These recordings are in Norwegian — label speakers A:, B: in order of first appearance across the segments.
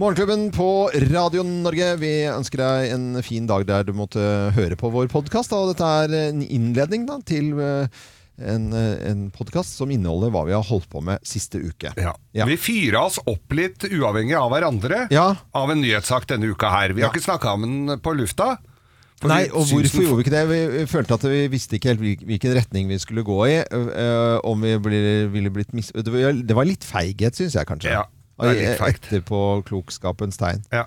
A: Morgenklubben på Radio Norge. Vi ønsker deg en fin dag der du måtte høre på vår podkast. Dette er en innledning da, til eh, en, eh, en podkast som inneholder hva vi har holdt på med siste uke.
B: Ja.
A: Ja.
B: Vi fyra oss opp litt uavhengig av hverandre
A: Ja.
B: av en nyhetssak denne uka her. Vi
A: Ja.
B: har ikke snakka om den på lufta. for
A: Nei,
B: vi
A: og
B: syns
A: hvorfor
B: den-
A: gjorde vi ikke det? Vi vi følte at vi visste ikke helt hvil- hvilken retning vi skulle gå i. øh, om vi ble, ville blitt mis... Det var- det var litt feighet, syns jeg kanskje.
B: Ja, det er litt feigt.
A: Etterpåklokskapens tegn.
B: Ja.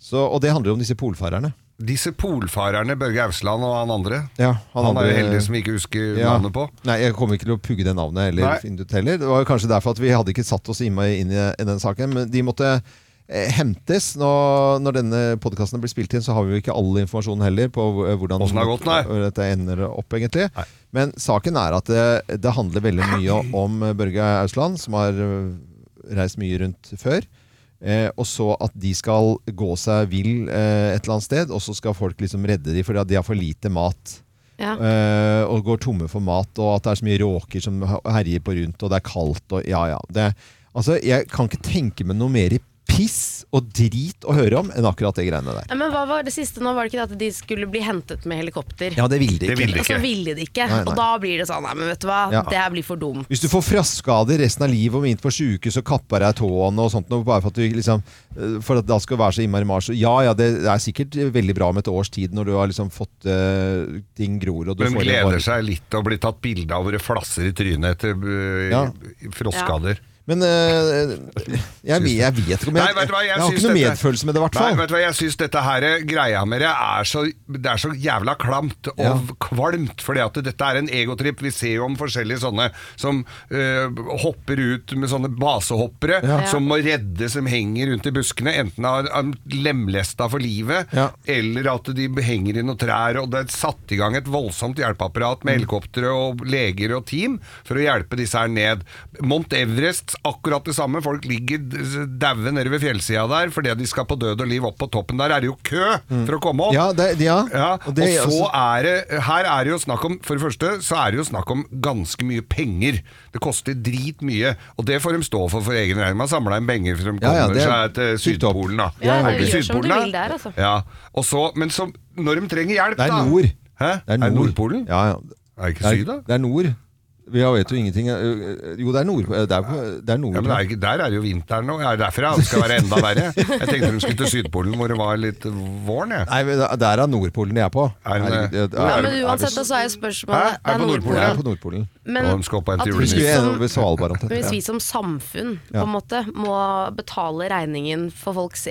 A: Så, og det handler jo om disse polfarerne.
B: Disse polfarerne, Børge Ausland og han andre.
A: Ja,
B: Han, er
A: andre-
B: jo heldig som vi ikke husker
A: Ja.
B: navnet på.
A: Nei, jeg kommer ikke til å pugge det navnet eller
B: Nei.
A: finne det ut heller. Det var jo kanskje derfor at vi hadde ikke satt oss inn i, inn i, i den saken, men de måtte eh, hentes. Nå, når denne podkasten blir spilt inn, så har vi jo ikke all informasjonen heller på hvor- eh, hvordan
B: Hvordan det har gått, nei.
A: dette ender opp, egentlig. Men saken er at eh, det, det handler veldig mye om Børge Ausland, som har eh, reist mye rundt før. Eh, og så at de skal gå seg vill eh, et eller annet sted, og så skal folk liksom redde dem fordi at de har for lite mat.
C: Ja.
A: Eh, og går tomme for mat, og at det er så mye råker som herjer på rundt, og det er kaldt og ja, ja. Det, altså, jeg kan ikke tenke meg noe mer piss og drit å høre om enn akkurat det greiene der.
C: Nei, Men hva var det siste nå? Var det ikke det at de skulle bli hentet med helikopter?
A: Ja, det vil de
B: Det
A: ikke.
B: vil de
C: Og så
B: ikke.
C: ville de ikke.
A: Nei, nei.
C: Og da blir det sånn Nei, men vet du hva,
A: Ja.
C: det her blir for dumt.
A: Hvis du får frasskader resten av livet og må inn på sjukehus og kapper deg tåene og sånt, noe, bare for at du liksom eh, For at da skal være så innmari mars. Ja ja, det er sikkert veldig bra om et års tid når du har liksom fått eh, ting gror og du
B: De
A: får en
B: gleder
A: varm-
B: seg litt og blir tatt bilde av hvor det flasser i trynet etter øh,
A: Ja.
B: frostskader.
A: Men eh, jeg, vet- jeg vet ikke om jeg,
B: Nei, vet du hva, jeg
A: jeg har
B: syns
A: ikke noe
B: dette-
A: medfølelse med det, i hvert
B: Nei,
A: fall.
B: vet du hva, jeg syns dette her eh, greia med det er så, det er så jævla klamt og
A: Ja.
B: kvalmt, fordi at dette er en egotripp. Vi ser jo om forskjellige sånne som øh, hopper ut med sånne basehoppere
A: Ja.
B: som må redde, som henger rundt i buskene, enten er er lemlesta for livet,
A: Ja.
B: eller at de henger i noen trær, og det er satt i gang et voldsomt hjelpeapparat
A: Mm.
B: med helikoptre og leger og team for å hjelpe disse her ned. Mount Everest, akkurat det samme. Folk ligger d- daue nede ved fjellsida der fordi de skal på død og liv opp på toppen. Der er det jo kø for å komme opp.
A: Mm. Ja, det, ja.
B: Ja, og,
A: og det,
B: så
A: altså,
B: er det Her er det jo snakk om For det første så er det jo snakk om ganske mye penger. Det koster dritmye, og det får de stå for for egen regning. Man samler inn penger for de
A: Ja, ja,
B: kommer
A: det er
B: seg til
A: sykt opp.
B: Sydpolen, da.
C: Ja,
B: Kommer
C: ja,
B: til
C: gjør som du
B: Sydpolen,
C: vil
B: da.
C: der, altså.
B: Ja, og så, men så, når de trenger hjelp,
A: det
B: da
A: er nord.
B: Hæ?
A: Det er nord.
B: Nordpolen?
A: Ja, ja.
B: Er det ikke
A: Det
B: syd, da?
A: er, det er nord. Vi har- vet jo ingenting øh, øh, Jo, det er nord. Det er, det er nord.
B: Ja, men det er, ikke- der er jo vinteren nå. Er det derfor ja, det skal være enda verre? Jeg tenkte de skulle til Sydpolen hvor det var litt våren, jeg.
A: Nei, men det er Nordpolen jeg er på.
B: Er det-
A: Herregud, det-
C: Ja,
A: er-
C: men uansett, da
A: er vi-
C: så er jo
B: Hæ?
C: spørsmålet
B: Er på Nordpolen,
A: Jeg
B: ja.
A: er på Nordpolen.
C: Men
B: Og de skal opp og hente
C: at
A: Vi
C: vi
A: skulle
B: julenissen.
C: som-
A: gjennom ved Svalbard omtrent.
C: Men hvis vi
A: Ja.
C: som samfunn
A: Ja.
C: på en måte må betale regningen for folks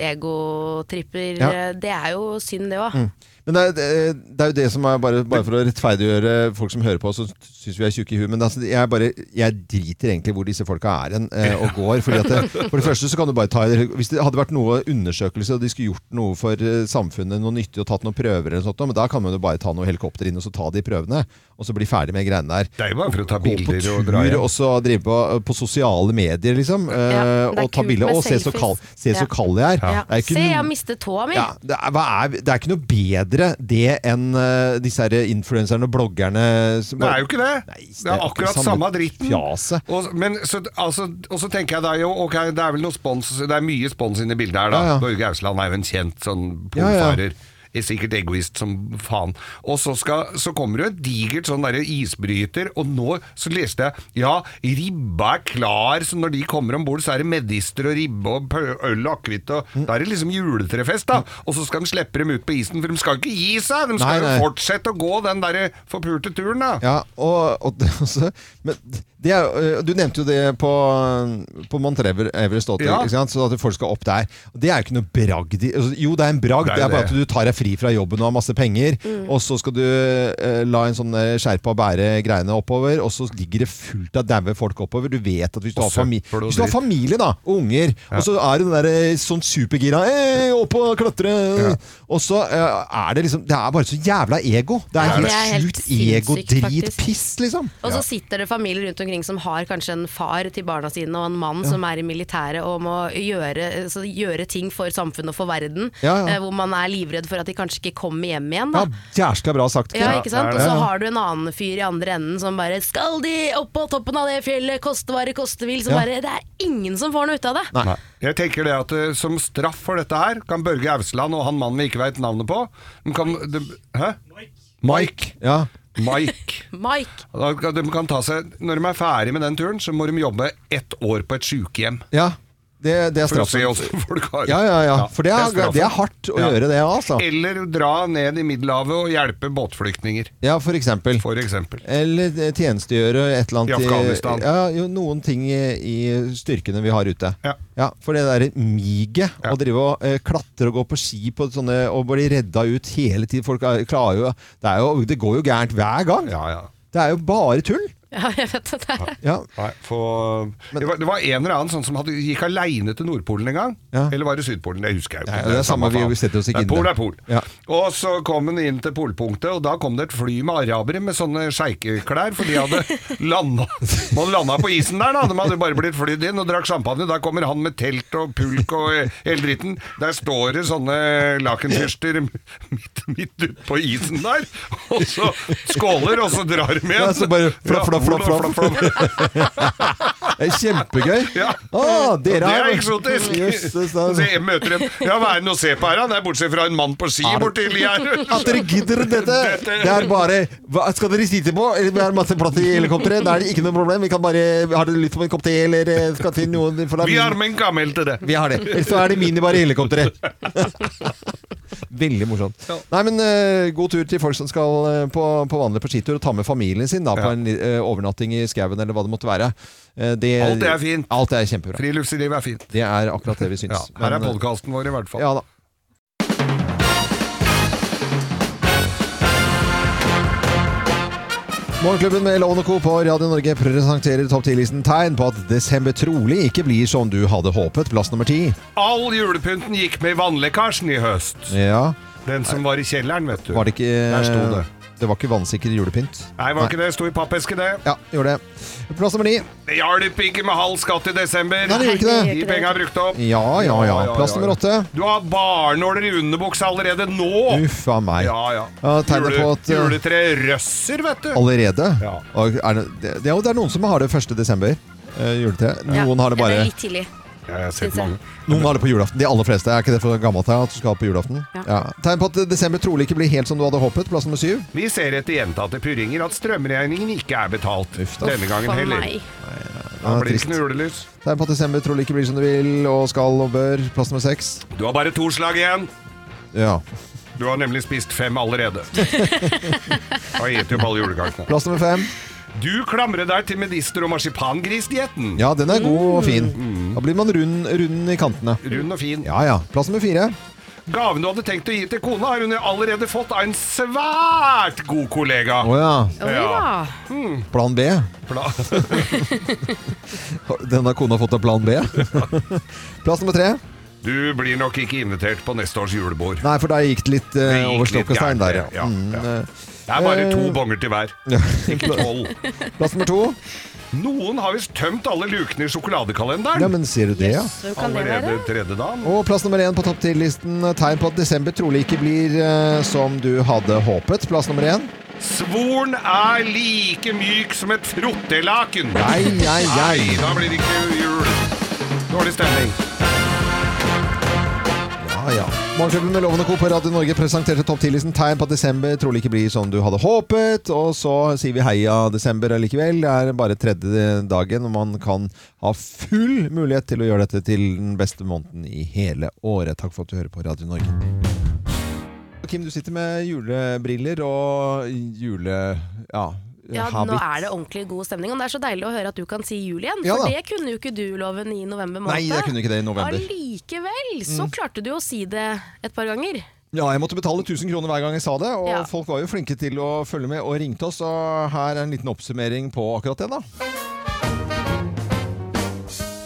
C: egotripper,
A: Ja. Mm.
C: eh, det er jo synd det òg.
A: Men det er, det- det er jo det som er bare, bare for å rettferdiggjøre folk som hører på, så syns vi er tjukke i huet. Men altså, jeg, bare, jeg driter egentlig hvor disse folka er hen eh, og går. Fordi at det, for det første så kan du bare ta Hvis det hadde vært noe undersøkelse, og de skulle gjort noe for eh, samfunnet, noe nyttig, og tatt noen prøver eller noe sånt, men da kan man jo bare ta noe helikopter inn og så ta de prøvene, og så bli ferdig med greiene der.
B: Det er jo bare for å ta
A: Gå på
B: bilder og dra
A: tur
B: hjem.
A: og så drive på, eh, på sosiale medier, liksom. eh,
C: Ja, det er
A: og ta
C: kult
A: bilder.
C: med
A: Å, se så
C: selfies.
A: kald, se så
C: Ja.
A: kald jeg er.
C: Ja.
A: Det er ikke
C: Se, jeg
A: noe-
C: har mistet tåa mi!
A: ja, det, er, hva er, det er ikke noe bedre det enn eh, disse her influenserne og bloggerne som
B: Det er jo ikke det.
A: Nei,
B: det er akkurat samme, dritten.
A: fjase.
B: Og, men, så, altså, og så tenker jeg da jo, ok, det er vel noe spons, det er mye spons inne i bildet her da.
A: Ja, ja.
B: Børge Ausland er jo en kjent sånn
A: Ja, ja.
B: polfarer. Er sikkert egoist som faen. Og så, skal, så kommer det jo et digert sånn derre isbryter, og nå så leste jeg Ja, ribba er klar, så når de kommer om bord, så er det medister og ribbe og pø- øl og akevitt og Da er det liksom juletrefest, da. Og så skal de slippe dem ut på isen, for de skal jo ikke gi seg! De
A: Nei,
B: skal
A: nei.
B: jo fortsette å gå den derre forpulte turen, da.
A: Ja, og, og det- altså, men det er, jo- øh, Du nevnte jo det på, på Mount Ever- Everest, også,
B: Ja.
A: ikke sant? så at folk skal opp der. Og Det er jo ikke noe bragd. i- altså, Jo, det er en bragd.
B: Det er
A: Det er bare
B: det.
A: at du tar deg fri fra jobben og har masse penger, og så skal du eh, la en sånn eh, skjerpa bære greiene oppover, og så ligger det fullt av daue folk oppover. Du vet at hvis du,
B: Og
A: har, fami
B: søppel og
A: hvis du har
B: dritt.
A: familie da, og unger, og så er du den der eh, sånn supergira «Ei, Opp og klatre! Og så eh, er det liksom Det er bare så jævla ego. Det er
C: Ja, det er
A: helt
C: helt
A: sjukt
C: sinnssykt,
A: ego-drit.
C: faktisk.
A: Piss, liksom.
C: Og så sitter det familier rundt omkring som har kanskje en far til barna sine og en mann som er i militæret og må gjøre, så gjøre ting for samfunnet og for verden,
A: Ja, ja.
C: eh, hvor man er livredd for at de kanskje ikke kommer hjem igjen.
A: Ja,
C: Da.
A: jæskla bra sagt.
C: Ja,
A: Knut.
C: ikke sant?
B: det
C: Og
B: er
C: så
A: det.
C: har du en annen fyr i andre enden som bare 'Skal de opp på toppen av det fjellet, koste hva det koste vil?' Som
A: Ja.
C: bare Det er ingen som får noe ut av det.
A: Nei.
B: Jeg tenker det at eh, Som straff for dette her kan Børge Ausland og han mannen vi ikke veit navnet på de kan, de, Hæ? Mike.
A: Ja.
B: Mike.
C: Mike!
B: Da kan- De kan ta seg, når de er ferdig med den turen, så må de jobbe ett år på et sykehjem.
A: ja. Det, det er
B: For å se
A: straffen.
B: åssen folk har det.
A: Ja, ja, ja. For det er,
B: straffen.
A: det er hardt å
B: Ja.
A: gjøre det, altså.
B: Eller dra ned i Middelhavet og hjelpe båtflyktninger,
A: Ja, for eksempel.
B: for eksempel.
A: Eller eh, tjenestegjøre et eller annet
B: I Afghanistan.
A: Ja, jo, noen ting i, i styrkene vi har ute.
B: Ja.
A: For det derre miget,
B: Ja.
A: å drive og eh, klatre og gå på ski på sånne, og bli redda ut hele tiden Folk er, klarer jo det, er jo det går jo gærent hver gang!
B: Ja, ja.
A: Det er jo bare tull!
C: Ja, jeg vet det. det. er-
A: Ja.
B: Nei, få- det, var, det var en eller annen sånn som hadde, gikk aleine til Nordpolen en gang.
A: Ja.
B: Eller var det Sydpolen? Det husker jeg jo
A: Ja, det er samme, vi
B: faen.
A: setter oss ikke
B: Nei,
A: inn i
B: Pol
A: det.
B: er pol.
A: Ja.
B: Og så kom han inn til polpunktet, og da kom det et fly med arabere med sånne sjeikeklær, for de hadde landa Man landa på isen der, da. De hadde bare blitt flydd inn og drakk champagne. Da kommer han med telt og pulk og hele dritten. Der står det sånne lakenfyrster midt, midt ute på isen der, og så skåler, og så drar de igjen.
A: Ja, så bare flapp,
B: Ja,
A: flapp, flapp, flapp.
B: flapp.
A: Det er kjempegøy!
B: Ja.
A: Å, dere
B: det er
A: har- altså.
B: eksotisk!
A: Jøsses, da.
B: Se, jeg møter en Ja, hva er det å se på her, da? Det er bortsett fra en mann på ski borti Lier.
A: At dere gidder dette!
B: Dette-
A: Det er bare hva, Skal dere sitte på? Eller Vi har masse plass i helikopteret. Da er det ikke noe problem. Vi kan bare Har dere lyst på en kopp te, eller eh, skal til noen for da-
B: Vi har med en gammel til det.
A: Vi har det. Ellers så er det minibar i helikopteret. Veldig morsomt.
B: Ja.
A: Nei, men eh, god tur til folk som skal eh, på, på vanlig på skitur, og ta med familien sin da, på
B: Ja.
A: en li- eh, overnatting i skauen eller hva det måtte være. Eh, det-
B: Alt er fint.
A: Alt er kjempebra.
B: Friluftsliv er fint.
A: Det er akkurat det vi syns.
B: Ja, her er
A: Men, eh,
B: podkasten vår, i hvert fall.
A: ja da. Morgenklubben med Loven og Co. på Radio Norge presenterer topp 10-listen tegn på at desember trolig ikke blir som du hadde håpet. Plass nummer ti.
B: All julepynten gikk med i vannlekkasjen i høst.
A: Ja.
B: Den som var i kjelleren, vet du.
A: Var det ikke
B: Der sto det.
A: var ikke vannsikker julepynt?
B: Nei, var ikke det. Sto i pappeske, det.
A: Ja, gjorde det. Plass nummer ni.
B: Det hjalp ikke med halv skatt i desember.
A: Nei, det gjorde ikke det.
B: De penga er brukt opp.
A: Ja, ja, ja. Plass nummer åtte.
B: Du har barnåler i underbuksa allerede nå!
A: Uff a meg.
B: Ja, ja.
A: Uh. Ja, tegnet på at, eh,
B: Juletre røsser, vet du.
A: Allerede?
B: Ja.
A: Og er det, det, det er jo- det er noen som har det 1. desember. eh, juletre. Noen
C: Ja,
A: har det
C: Det er
A: bare
C: litt tidlig.
B: Ja, jeg har
C: Syns
B: sett
C: jeg.
B: mange.
A: Noen har det på julaften. De aller fleste. Er ikke det for gammelt her, at du skal ha det på julaften?
C: Ja.
A: Tegn på at desember trolig ikke blir helt som du hadde håpet. Plass nummer syv.
B: Vi ser etter gjentatte purringer at strømregningen ikke er betalt.
A: Uff da.
B: Denne gangen
C: For
B: heller.
C: meg.
B: Da
A: Ja,
B: blir det
A: trist.
B: ikke noe julelys.
A: Tegn på at desember trolig ikke blir som du vil og skal og bør. Plass nummer seks.
B: Du har bare to slag igjen.
A: Ja.
B: Du har nemlig spist fem allerede. Da gjeter jo på alle julekakene.
A: Plass nummer fem.
B: Du klamrer deg til medister- og marsipangrisdietten.
A: Ja, den er god og fin. Da blir man rund, rund i kantene.
B: Rund og fin.
A: Ja ja. Plass nummer fire.
B: Gaven du hadde tenkt å gi til kona, har hun allerede fått av en svært god kollega.
A: Å ja.
C: Oi da.
B: Ja.
A: Plan B.
B: Pla-
A: Denne kona har fått av plan B. Plass nummer tre.
B: Du blir nok ikke invitert på neste års julebord.
A: Nei, for der gikk det litt eh,
B: Det gikk
A: over
B: litt
A: stokk og stein der,
B: gærent, ja.
A: Mm,
B: Ja.
A: eh,
B: Det er bare to
A: Eh.
B: bonger til hver. Ikke tolv.
A: Plass nummer to.
B: Noen har visst tømt alle lukene i sjokoladekalenderen.
A: Ja, men ser du det, ja?
C: Så kan det være.
B: Allerede tredje dagen.
A: Og plass nummer én på topp 10-listen. Tegn på at desember trolig ikke blir eh, som du hadde håpet. Plass nummer én.
B: Svoren er like myk som et frottelaken.
A: Nei, nei,
B: Nei,
A: nei.
B: da blir det ikke jul. Dårlig stemning.
A: Ja, ja. Morgenklubben med Loven og Co. på Radio Norge presenterte topp 10-listen. Tegn på at desember trolig ikke blir som du hadde håpet. Og så sier vi heia desember allikevel. Det er bare tredje dagen, og man kan ha full mulighet til å gjøre dette til den beste måneden i hele året. Takk for at du hører på Radio Norge. Kim, du sitter med julebriller og jule... Ja,
C: Ja,
A: habit.
C: nå er det ordentlig god stemning, og det er så deilig å høre at du kan si jul igjen.
A: Ja
C: For
A: da.
C: det kunne jo ikke du, Loven, i november måned.
A: Nei, jeg kunne ikke det i november. Mm.
C: Allikevel så klarte du å si det et par ganger.
A: Ja, jeg måtte betale 1000 kroner hver gang jeg sa det, og
C: Ja.
A: folk var jo flinke til å følge med og ringte oss, og her er en liten oppsummering på akkurat det, da.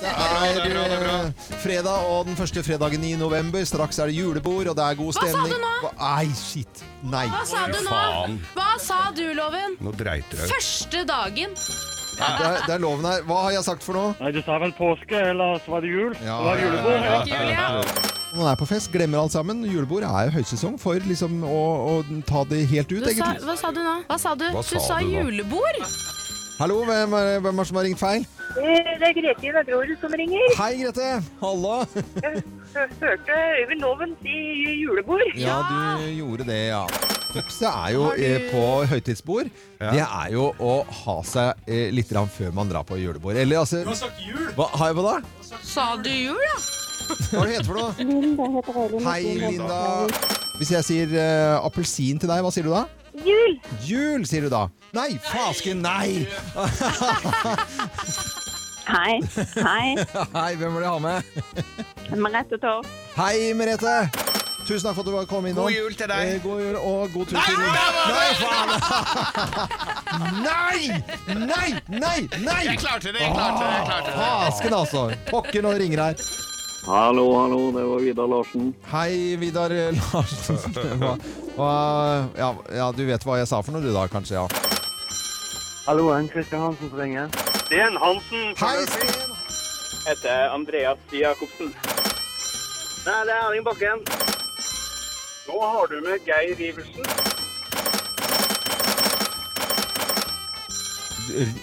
A: Det er,
B: det er bra, det er bra.
A: eh, fredag, og den første fredagen i november. Straks er det julebord, og det er god
C: Hva sa
A: stemning.
C: du nå?
A: Hva- Nei, shit. Nei.
C: Hva sa
B: Oi,
C: du nå?
B: faen.
C: Hva sa du, Loven?
B: Nå dreit jeg.
C: Første dagen.
A: Det er, det er loven her. Hva har jeg sagt for noe?
D: Nei, du sa vel påske, eller så var det jul?
A: Ja,
D: det var
A: ja,
D: julebord.
C: Var det ikke jul, ja?
A: Man er på fest, glemmer alt sammen. Julebord er jo høysesong for liksom å, å ta det helt ut,
C: Du sa,
A: egentlig.
C: hva sa du nå? Hva sa du?
B: Hva
C: du
B: sa
C: sa
B: du nå?
C: julebord.
A: Hallo, hvem er, hvem er det som har ringt feil?
E: Eh, Det er Grete i Vesterålen som ringer.
A: Hei, Grete! Hallo!
E: Jeg hø- hørte Øyvind Loven si julebord.
A: Ja, du gjorde det, ja. Tipset er jo
C: Har du-
A: eh, på høytidsbord. Det er jo å ha seg eh, litt grann før man drar på julebord. Eller altså
F: har sagt jul!
A: hva, Hei, hva da?
C: Sa du jul, ja?
A: Hva er det du heter for noe?
G: Linda heter jeg. Linda
A: Hei,
G: Solberg.
A: Linda. Hvis jeg sier eh, appelsin til deg, hva sier du da?
E: Jul!
A: Jul, sier du da. Nei, fasken, nei!
G: Hei. Hei.
A: Hei, hvem vil du ha med?
G: Merete Torp.
A: Hei, Merete! Tusen takk for at du kom innom.
B: God jul til deg.
A: Eh, god jul og god tur til Linda. Nei, faen! Nei! Nei! Nei! Nei!
F: Jeg klarte det! jeg klarte
B: Ah.
F: det, jeg klarte det.
A: Fasken, altså. Pokker nå ringer her.
D: Hallo, hallo, det var Vidar Larsen.
A: Hei, Vidar Larsen. Hva, hva, ja, ja, du vet hva jeg sa for noe, du da, kanskje? ja.
D: Hallo, det er Christian Hansen som ringer. Sten Hansen.
A: Hei, Sten!
H: heter Andreas Jacobsen.
D: Nei, det er Erling Bakken.
H: Nå har du med Geir Iversen.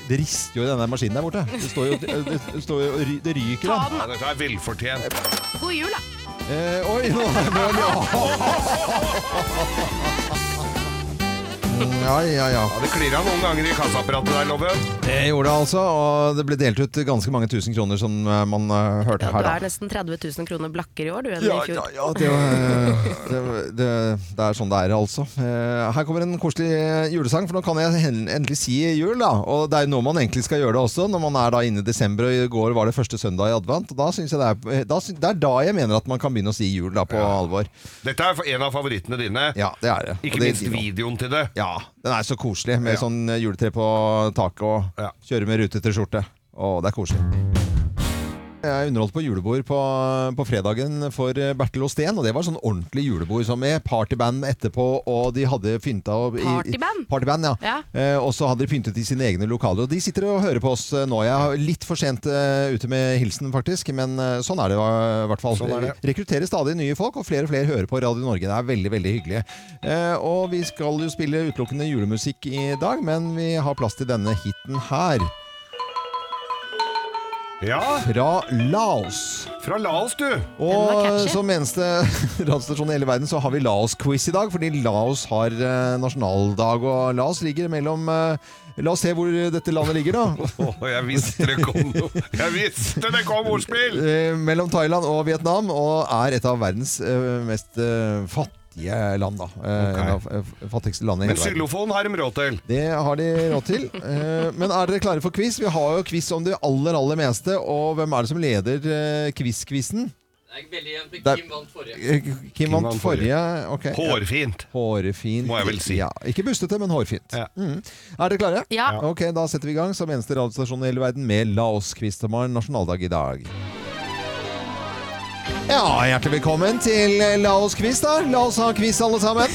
A: Det rister jo i denne maskinen der borte. Det står jo, det, det står jo Det ryker, da.
B: Ja, dette er velfortjent.
C: God jul, da.
A: Eh, oi, nå nå er det Ja, ja, ja.
B: Ja, det klirra noen ganger i kassaapparatet der, Loven.
A: Det gjorde det altså, og det ble delt ut ganske mange tusen kroner som eh, man eh, hørte
C: Du
A: her,
C: er
A: da.
C: nesten 30 000 kroner blakker i år, du. enn
A: Ja,
C: i
A: ja,
C: fjor.
A: ja det, var- eh, det, det, det er sånn det er, altså. Eh, Her kommer en koselig eh, julesang, for nå kan jeg hen- endelig si jul, da. Og det er jo nå man egentlig skal gjøre det også, når man er da inne i desember, og i går var det første søndag i advent. Og da synes jeg det er, eh, da, sy- det er da jeg mener at man kan begynne å si jul, da, på alvor.
B: Dette er en av favorittene dine.
A: Ja, det er det. Og
B: Ikke
A: det-
B: minst videoen til det.
A: Ja, den er så koselig med
B: Ja.
A: sånn juletre på taket og
B: Ja.
A: kjøre med rutete skjorte. Å, det er koselig. Jeg underholdt på julebord på, på fredagen for Bertil og Steen, og det var sånn ordentlig julebord som med partyband etterpå, og de hadde pynta og, i-
C: Partyband?
A: Partyband, ja.
C: Ja.
A: Eh, og så hadde de pyntet i sine egne lokaler, og de sitter og hører på oss eh, nå. Jeg er litt for sent eh, ute med hilsen, faktisk, men eh, sånn er det eh, i hvert fall.
B: Sånn er det.
A: Rekrutterer stadig nye folk, og flere og flere hører på Radio Norge. Det er veldig, veldig hyggelig. Eh, og vi skal jo spille utelukkende julemusikk i dag, men vi har plass til denne hiten her.
B: Ja,
A: Fra Laos.
B: fra Laos, du.
C: Den var
A: Og
C: catchy.
A: som eneste radiostasjon i hele verden så har vi Laos-quiz i dag, fordi Laos har eh, nasjonaldag, og Laos ligger mellom eh, La oss se hvor dette landet ligger, da.
B: Å, jeg visste det kom noe. Jeg visste det kom ordspill!
A: Eh, mellom Thailand og Vietnam, og er et av verdens eh, mest eh, fattige land, da. Eh,
B: Ok.
A: en av, eh, fattigste landet i
B: Men
A: hele verden.
B: xylofon har de råd til.
A: Det har de råd til. Eh, Men er dere klare for quiz? Vi har jo quiz om det aller, aller meste. Og hvem er det som leder eh, quiz-quizen?
I: Det er veldig jevnt.
A: Det er-
I: Kim vant forrige.
A: Eh, Kim vant
B: vant
A: forrige. ok.
B: Hårfint.
A: Hårfint.
B: Må jeg vel si.
A: Ja, ikke bustete, men hårfint.
B: Ja.
A: Mm. Er dere klare?
C: Ja.
A: Ok, Da setter vi i gang som eneste radiostasjon i hele verden med Laos-quiz. Det var nasjonaldag i dag. Ja, hjertelig velkommen til Laos-quiz, da. La oss ha quiz, alle sammen.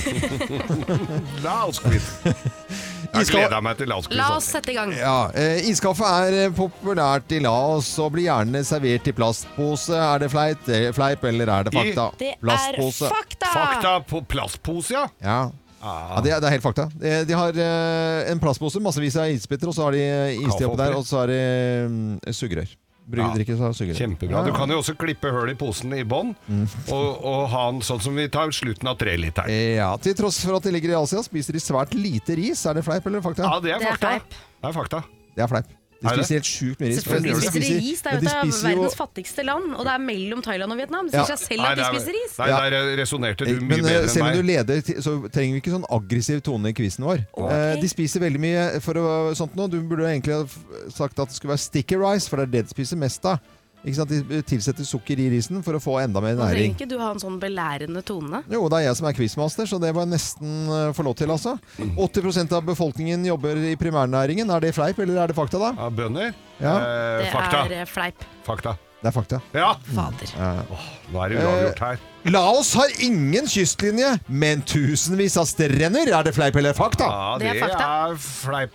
B: Laos-quiz. Jeg
A: Iskald-
B: gleder meg til Laos-quiz.
C: La oss
B: altså.
C: sette i gang.
A: Ja, eh, Iskaffe er eh, populært i Laos og blir gjerne servert i plastpose. Er det fleit, eh, fleip, eller er det
B: I-
A: fakta?
C: Det er
A: Plastpose.
C: fakta!
B: Fakta på plastpose, ja.
A: Ja. Ja, det, er, det er helt fakta. Eh, De har eh, en plastpose, massevis av isbiter, og så har de eh, iste oppi der, og så har de mm, sugerør. Brygge,
B: Ja.
A: drikke, så har de sugerør.
B: Kjempebra. Du kan jo også klippe hull i posen i bånn, og, og ha den sånn som vi tar slutten av treliteren.
A: Eh, Mm. Ja, Til tross for at de ligger i Asia, spiser de svært lite ris. Er det fleip eller fakta?
B: Ja, det er
C: Det er
B: fakta.
C: fleip.
B: Det er fakta.
A: Det er fleip. De
B: Er det?
A: spiser helt sjukt mye ris.
C: Selvfølgelig
A: Men
C: spiser de ris. Det er
A: men
C: jo
A: de
C: et av
A: spiser jo-
C: verdens fattigste land, og det er mellom Thailand og Vietnam. Det
A: Ja.
C: sier seg selv at de spiser ris.
B: Nei, der resonnerte du mye
A: Men eh,
B: bedre
A: selv om du
B: enn meg.
A: leder, til- så trenger vi ikke sånn aggressiv tone i quizen vår. Eh, De spiser veldig mye for å, sånt nå. Du burde egentlig ha f- sagt at det skulle være sticky rice, for det er det de spiser mest av. Ikke sant? De tilsetter sukker i risen for å få enda mer
C: Nå trenger
A: næring.
C: ikke du ha en sånn belærende tone.
A: Jo, det er jeg som er quizmaster, så det var jeg nesten eh, få lov til, altså. 80 av befolkningen jobber i primærnæringen. Er det fleip, eller er det fakta, da?
B: Ja, bønder?
A: Ja.
B: Eh,
C: Det
B: fakta.
C: er eh, fleip.
B: Fakta.
A: Det er fakta.
B: Ja!
C: Fader.
B: Nå er det uavgjort her.
A: Laos har ingen kystlinje, men tusenvis av strender. Er det fleip eller fakta?
B: Ja,
C: Det er fakta.
B: er fleip.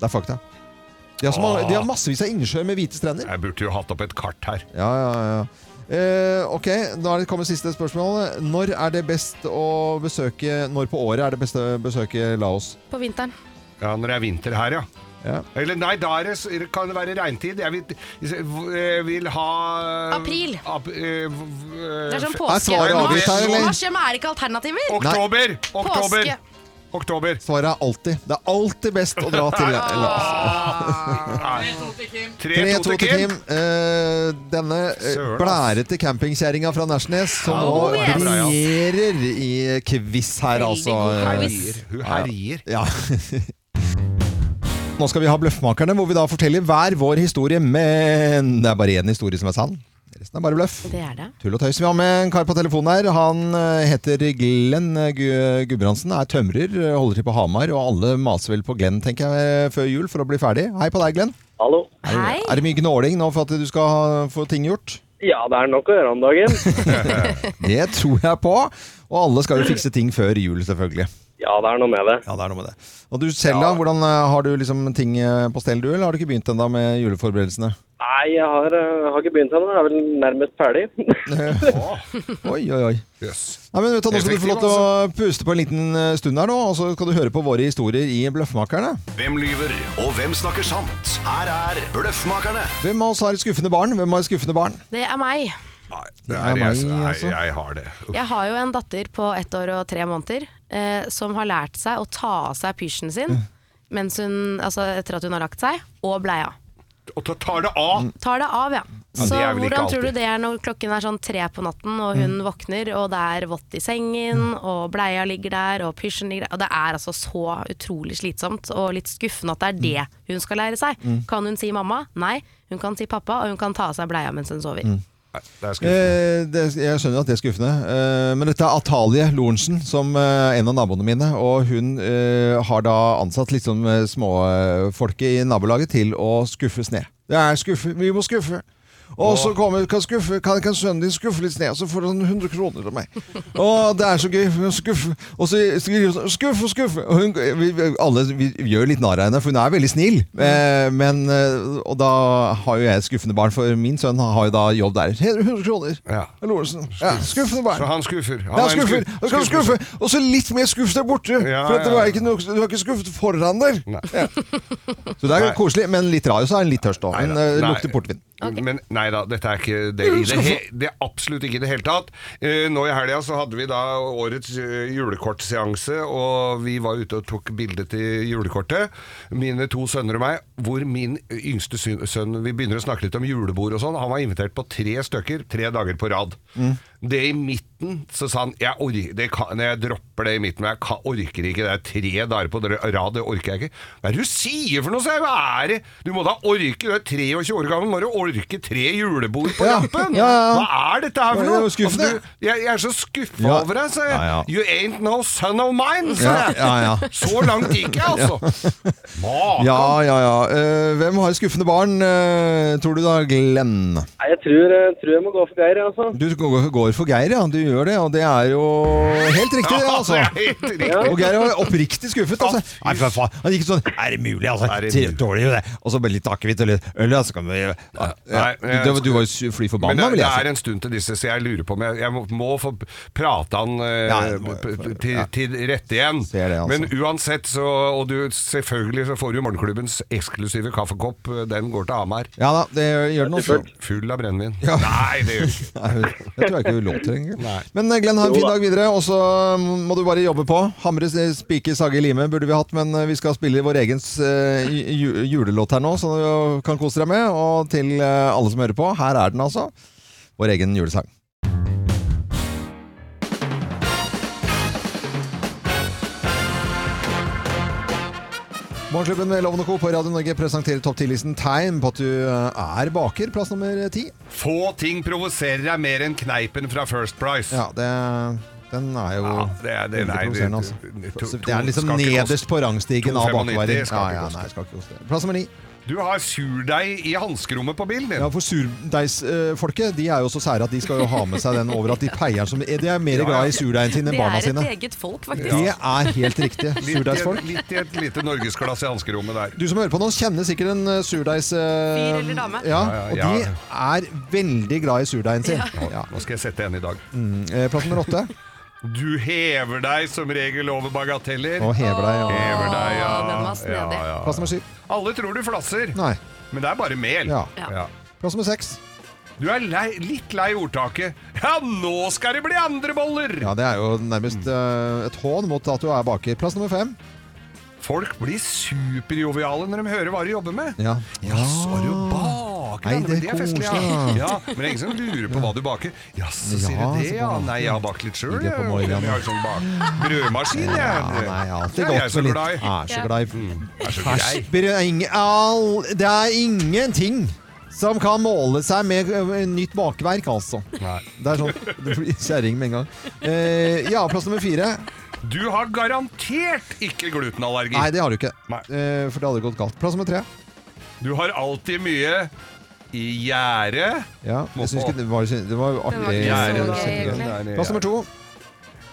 A: Det er fakta. De har, som,
B: Ah.
A: de har massevis av innsjøer med hvite strender.
B: Jeg burde jo hatt opp et kart her.
A: Ja, ja, ja. Eh, ok, da er det kommet siste spørsmål. Når er det best å besøke Når på året er det best å besøke Laos?
C: På vinteren.
B: Ja, når det er vinter her, ja.
A: Ja.
B: Eller nei, da er det, s- kan det være regntid. Jeg vil, jeg vil ha
C: April.
B: Ap, eh, v- v-
C: Det er sånn
A: Er
C: påske.
A: svaret avgitt her, eller?
C: Mars, ja, men er det ikke alternativer?
B: Oktober! Oktober!
C: Påske.
B: Oktober.
A: Svaret er alltid. Det er alltid best å dra til Hellas.
B: Tre,
A: 3-2
B: to
A: til Kim. Eh, denne eh,
B: Søren, ass.
A: blærete campingkjerringa fra Nærsnes som nå
C: Oh, yes.
A: briljerer i quiz her,
C: Veldig
A: altså.
C: god
A: Eh,
B: Herjer. Hun herjer.
A: Ja. Nå skal vi ha Bløffmakerne, hvor vi da forteller hver vår historie, men det er bare én historie som er sann. Resten er bare bløff.
C: Det er det.
A: Tull og tøys. Vi har med en kar på telefonen her. Han eh, heter Glenn eh, Gu- Gudbrandsen, er tømrer, eh, holder til på Hamar, og alle maser vel på Glenn, tenker jeg, eh, før jul for å bli ferdig. Hei på deg, Glenn.
D: Hallo.
A: Er-
C: Hei.
A: Er det mye gnåling nå for at du skal ha- få ting gjort?
D: Ja, det er nok å gjøre om dagen.
A: Det tror jeg på. Og alle skal jo fikse ting før jul, selvfølgelig.
D: Ja, det er noe med det.
A: Ja, det er noe med det. Og du selv, da? Hvordan eh, Har du liksom ting eh, på stell, du? Eller har du ikke begynt ennå med juleforberedelsene?
D: Nei, jeg har, eh, har ikke begynt ennå. Jeg er vel nærmest ferdig.
A: Oi, oi, altså. oi.
B: Jøss.
A: Nei, men vet du, Nå skal du få
B: Effektiv,
A: lov til å puste på en liten eh, stund her nå, og så skal du høre på våre historier i Bløffmakerne.
I: Hvem lyver, og hvem snakker sant? Her er Bløffmakerne.
A: Hvem av oss har et skuffende barn? Hvem har et skuffende barn?
C: Det er meg.
B: Nei,
A: Det
B: det
A: er
B: er jeg,
A: meg,
B: jeg,
A: altså.
B: jeg har det.
C: Jeg har jo en datter på ett år og tre måneder eh, som har lært seg å ta av seg pysjen sin
A: Mm.
C: mens hun, altså etter at hun har lagt seg, og bleia.
B: Og da tar det av!
C: Tar det av, ja.
B: Ja, det
C: Så
B: er vel ikke
C: hvordan tror du
B: alltid. Mm.
C: det er når klokken er sånn tre på natten, og hun våkner, og det er vått i sengen, og bleia ligger der, og pysjen ligger der. Og det er altså så utrolig slitsomt, og litt skuffende at det er
B: Mm.
C: det hun skal lære seg. Kan hun si mamma? Nei. Hun kan si pappa, og hun kan ta av seg bleia mens hun sover.
B: Mm. Nei, det er skuffende.
A: Eh, det, jeg skjønner at det er skuffende, eh, men dette er Atalie Lorentzen, som eh, en av naboene mine. Og hun eh, har da ansatt litt sånn eh, småfolket i nabolaget til å skuffe sne. Det er skuffe, vi må skuffe. Og så kommer kan, skuffe, kan, kan sønnen din skuffe litt sne, og så får han 100 kroner av meg. Og det er så gøy. hun Skuffe, og så skriver hun sånn skuffe, skuffe. Og hun, vi, vi, alle vi gjør litt narr av henne, for hun er veldig snill. Eh, men, eh, og da har jo jeg et skuffende barn, for min sønn har jo da jobb der. 100 kroner.
B: Ja.
A: Lorentzen. Ja, skuffende barn.
B: Så han skuffer.
A: Ja,
B: er en
A: skuffer.
B: skuff-
A: Da skal du skuffe. Og så litt mer skuff der borte.
B: Ja,
A: for at det
B: ja.
A: var ikke noe, du har ikke skuffet foran der.
B: Nei.
A: Ja. Så det er jo
B: Nei.
A: koselig, men litt rar, så er den litt tørst òg. Den
B: Nei da.
A: eh,
B: Nei.
A: lukter portvin.
B: Men nei da, dette er ikke det i det, he, det er absolutt ikke i det hele tatt. Eh, nå i helga så hadde vi da årets eh, julekortseanse, og vi var ute og tok bilde til julekortet. Mine to sønner og meg, hvor min yngste syn- sønn Vi begynner å snakke litt om julebord og sånn. Han var invitert på tre stykker, tre dager på rad. Det i midten, så sa han jeg, orker, det kan, jeg dropper det i midten, men jeg kan, orker ikke det. er Tre dager på dra- rad, det orker jeg ikke. Hva er det du sier for noe? sa jeg, Hva er det? Du må da orke, du er 23 år gammel, må du orke tre julebord på
A: Ja,
B: rappen?
A: ja, ja.
B: Hva er dette her
A: Ja,
B: for
A: det
B: noe?
A: var skuffende.
B: Altså, du, jeg, jeg er så skuffa
A: Ja.
B: over deg, sa jeg.
A: Ja, ja.
B: You ain't no son of mine, sa
A: Ja,
B: jeg.
A: ja, ja.
B: Så langt gikk jeg, altså. Makan.
A: ja, ja, ja. Eh, hvem har skuffende barn, eh, tror du da, Glenn?
D: Nei, jeg tror, eh, tror jeg må gå for Geir, jeg, altså.
A: Du går går for Geir, ja. Du gjør det, og det er jo helt riktig, det, altså.
B: Ja, det er helt riktig.
A: Og Geir var oppriktig skuffet. Altså.
B: Ja,
A: Nei, for faen. Han gikk sånn Er det mulig, altså?
B: Er det
A: Tre-
B: mulig?
A: Dårlig, det. Og så bare litt akevitt og litt øl, ja, så kan vi ja.
B: Nei, jeg-
A: Du, du var jo fly
B: Men det,
A: forbanna, vil
B: det
A: jeg si.
B: er en stund til disse, så jeg lurer på om jeg, jeg må- må få prate han eh,
A: Ja, det må-
B: p- p- til, til rette igjen.
A: Ser det, altså.
B: Men uansett, så, og du, selvfølgelig så får du morgenklubbens eksklusive kaffekopp. eh, Den går til Hamar.
A: Ja da, det gjør den også.
B: Full av brennevin.
A: Ja.
B: Nei, det gjør du ikke.
A: Nei, det tror jeg ikke du lov til egentlig.
B: Nei.
A: Men eh, Glenn, ha en fin dag videre, og så mm, må du bare jobbe på. Hamre, s- spike, sage, lime burde vi hatt, men eh, vi skal spille vår egen eh, ju- julelåt her nå, så du kan kose deg med. Og til eh, alle som hører på, her er den altså. Vår egen julesang. Morgenklubben med Lovende Co. på Radio Norge presenterer topp 10-listen tegn på at du eh, er baker, plass nummer ti.
B: Få ting provoserer deg mer enn kneipen fra First Price.
A: Ja, det, den er jo
B: Ja, det er- det-
A: veldig
B: nei, det-
A: provoserende,
B: det-
A: altså.
B: to-
A: Det er liksom
B: skal ikke
A: nederst på rangstigen av
B: 2,95,
A: bakvarer.
B: skal
A: Ja,
B: ikke
A: ja,
B: koste.
A: nei, skal ikke koste. Plass nummer ni.
B: Du har surdeig i hanskerommet på bilen din.
A: Ja, for surdeigsfolket de er jo så sære at de skal jo ha med seg den over at de peier som De er mer
B: Ja, ja.
A: glad i surdeigen sin enn
C: Det
A: barna
C: er et
A: sine.
C: eget folk, faktisk.
A: Det er helt riktig.
B: Litt i et-
A: Surdeigsfolk.
B: Litt i et lite norgesglass i hanskerommet der.
A: Du som hører på nå, kjenner sikkert en eh, surdeigs...
C: Fyr
A: Uh,
C: eller dame.
A: Ja, og
B: Ja,
A: de
B: ja, ja.
A: er veldig glad i surdeigen sin. Ja.
B: Nå skal jeg sette en i dag.
A: Eh, Plass nummer åtte.
B: Du hever deg som regel over bagateller.
A: Og hever deg. Ja.
B: Hever deg, ja.
C: Åh, den var snedig.
B: Ja, ja.
A: Plass nummer syv.
B: Alle tror du flasser,
A: Nei.
B: men det er bare mel.
A: Ja.
C: Ja.
A: Plass nummer seks.
B: Du er lei, litt lei ordtaket 'Ja, nå skal det bli andre boller!'
A: Ja, det er jo nærmest
B: Mm.
A: eh, et hån mot at du er baker. Plass nummer fem.
B: Folk blir superjoviale når de hører hva de jobber med.
A: Ja.
B: Jaså, er du baker?
A: Nei,
B: ja, men
A: det
B: er festlig, ja.
A: koselig,
B: ja. Men det er ingen som lurer på hva du baker. Jaså, sier
A: Ja,
B: du det,
A: så
B: ja?
A: baker.
B: Nei, jeg har bakt litt sjøl.
A: Ligger
B: Jeg
A: på morgenen.
B: Jeg har sånn bak brødmaskin, jeg.
A: Ja, nei, alltid
B: Det er jeg
A: godt
B: så
A: med litt.
B: glad i. Mm.
A: Er så
C: Ja.
A: glad i.
B: Er så grei.
A: Fersk brød er ingen- all- Det er ingenting som kan måle seg med ø, nytt bakverk, altså.
B: Nei.
A: Det er sånn, det blir kjerring med en gang. Eh, ja, plass nummer fire.
B: Du har garantert ikke glutenallergi.
A: Nei, det har du ikke.
B: Nei.
A: Eh, for det hadde gått galt. Plass nummer tre.
B: Du har alltid mye i gjerdet.
A: Ja, jeg synes ikke det var, det var artig.
C: Det var ikke så
A: Ja,
C: gøy,
A: kjempegøy.
C: egentlig.
A: Plass nummer to.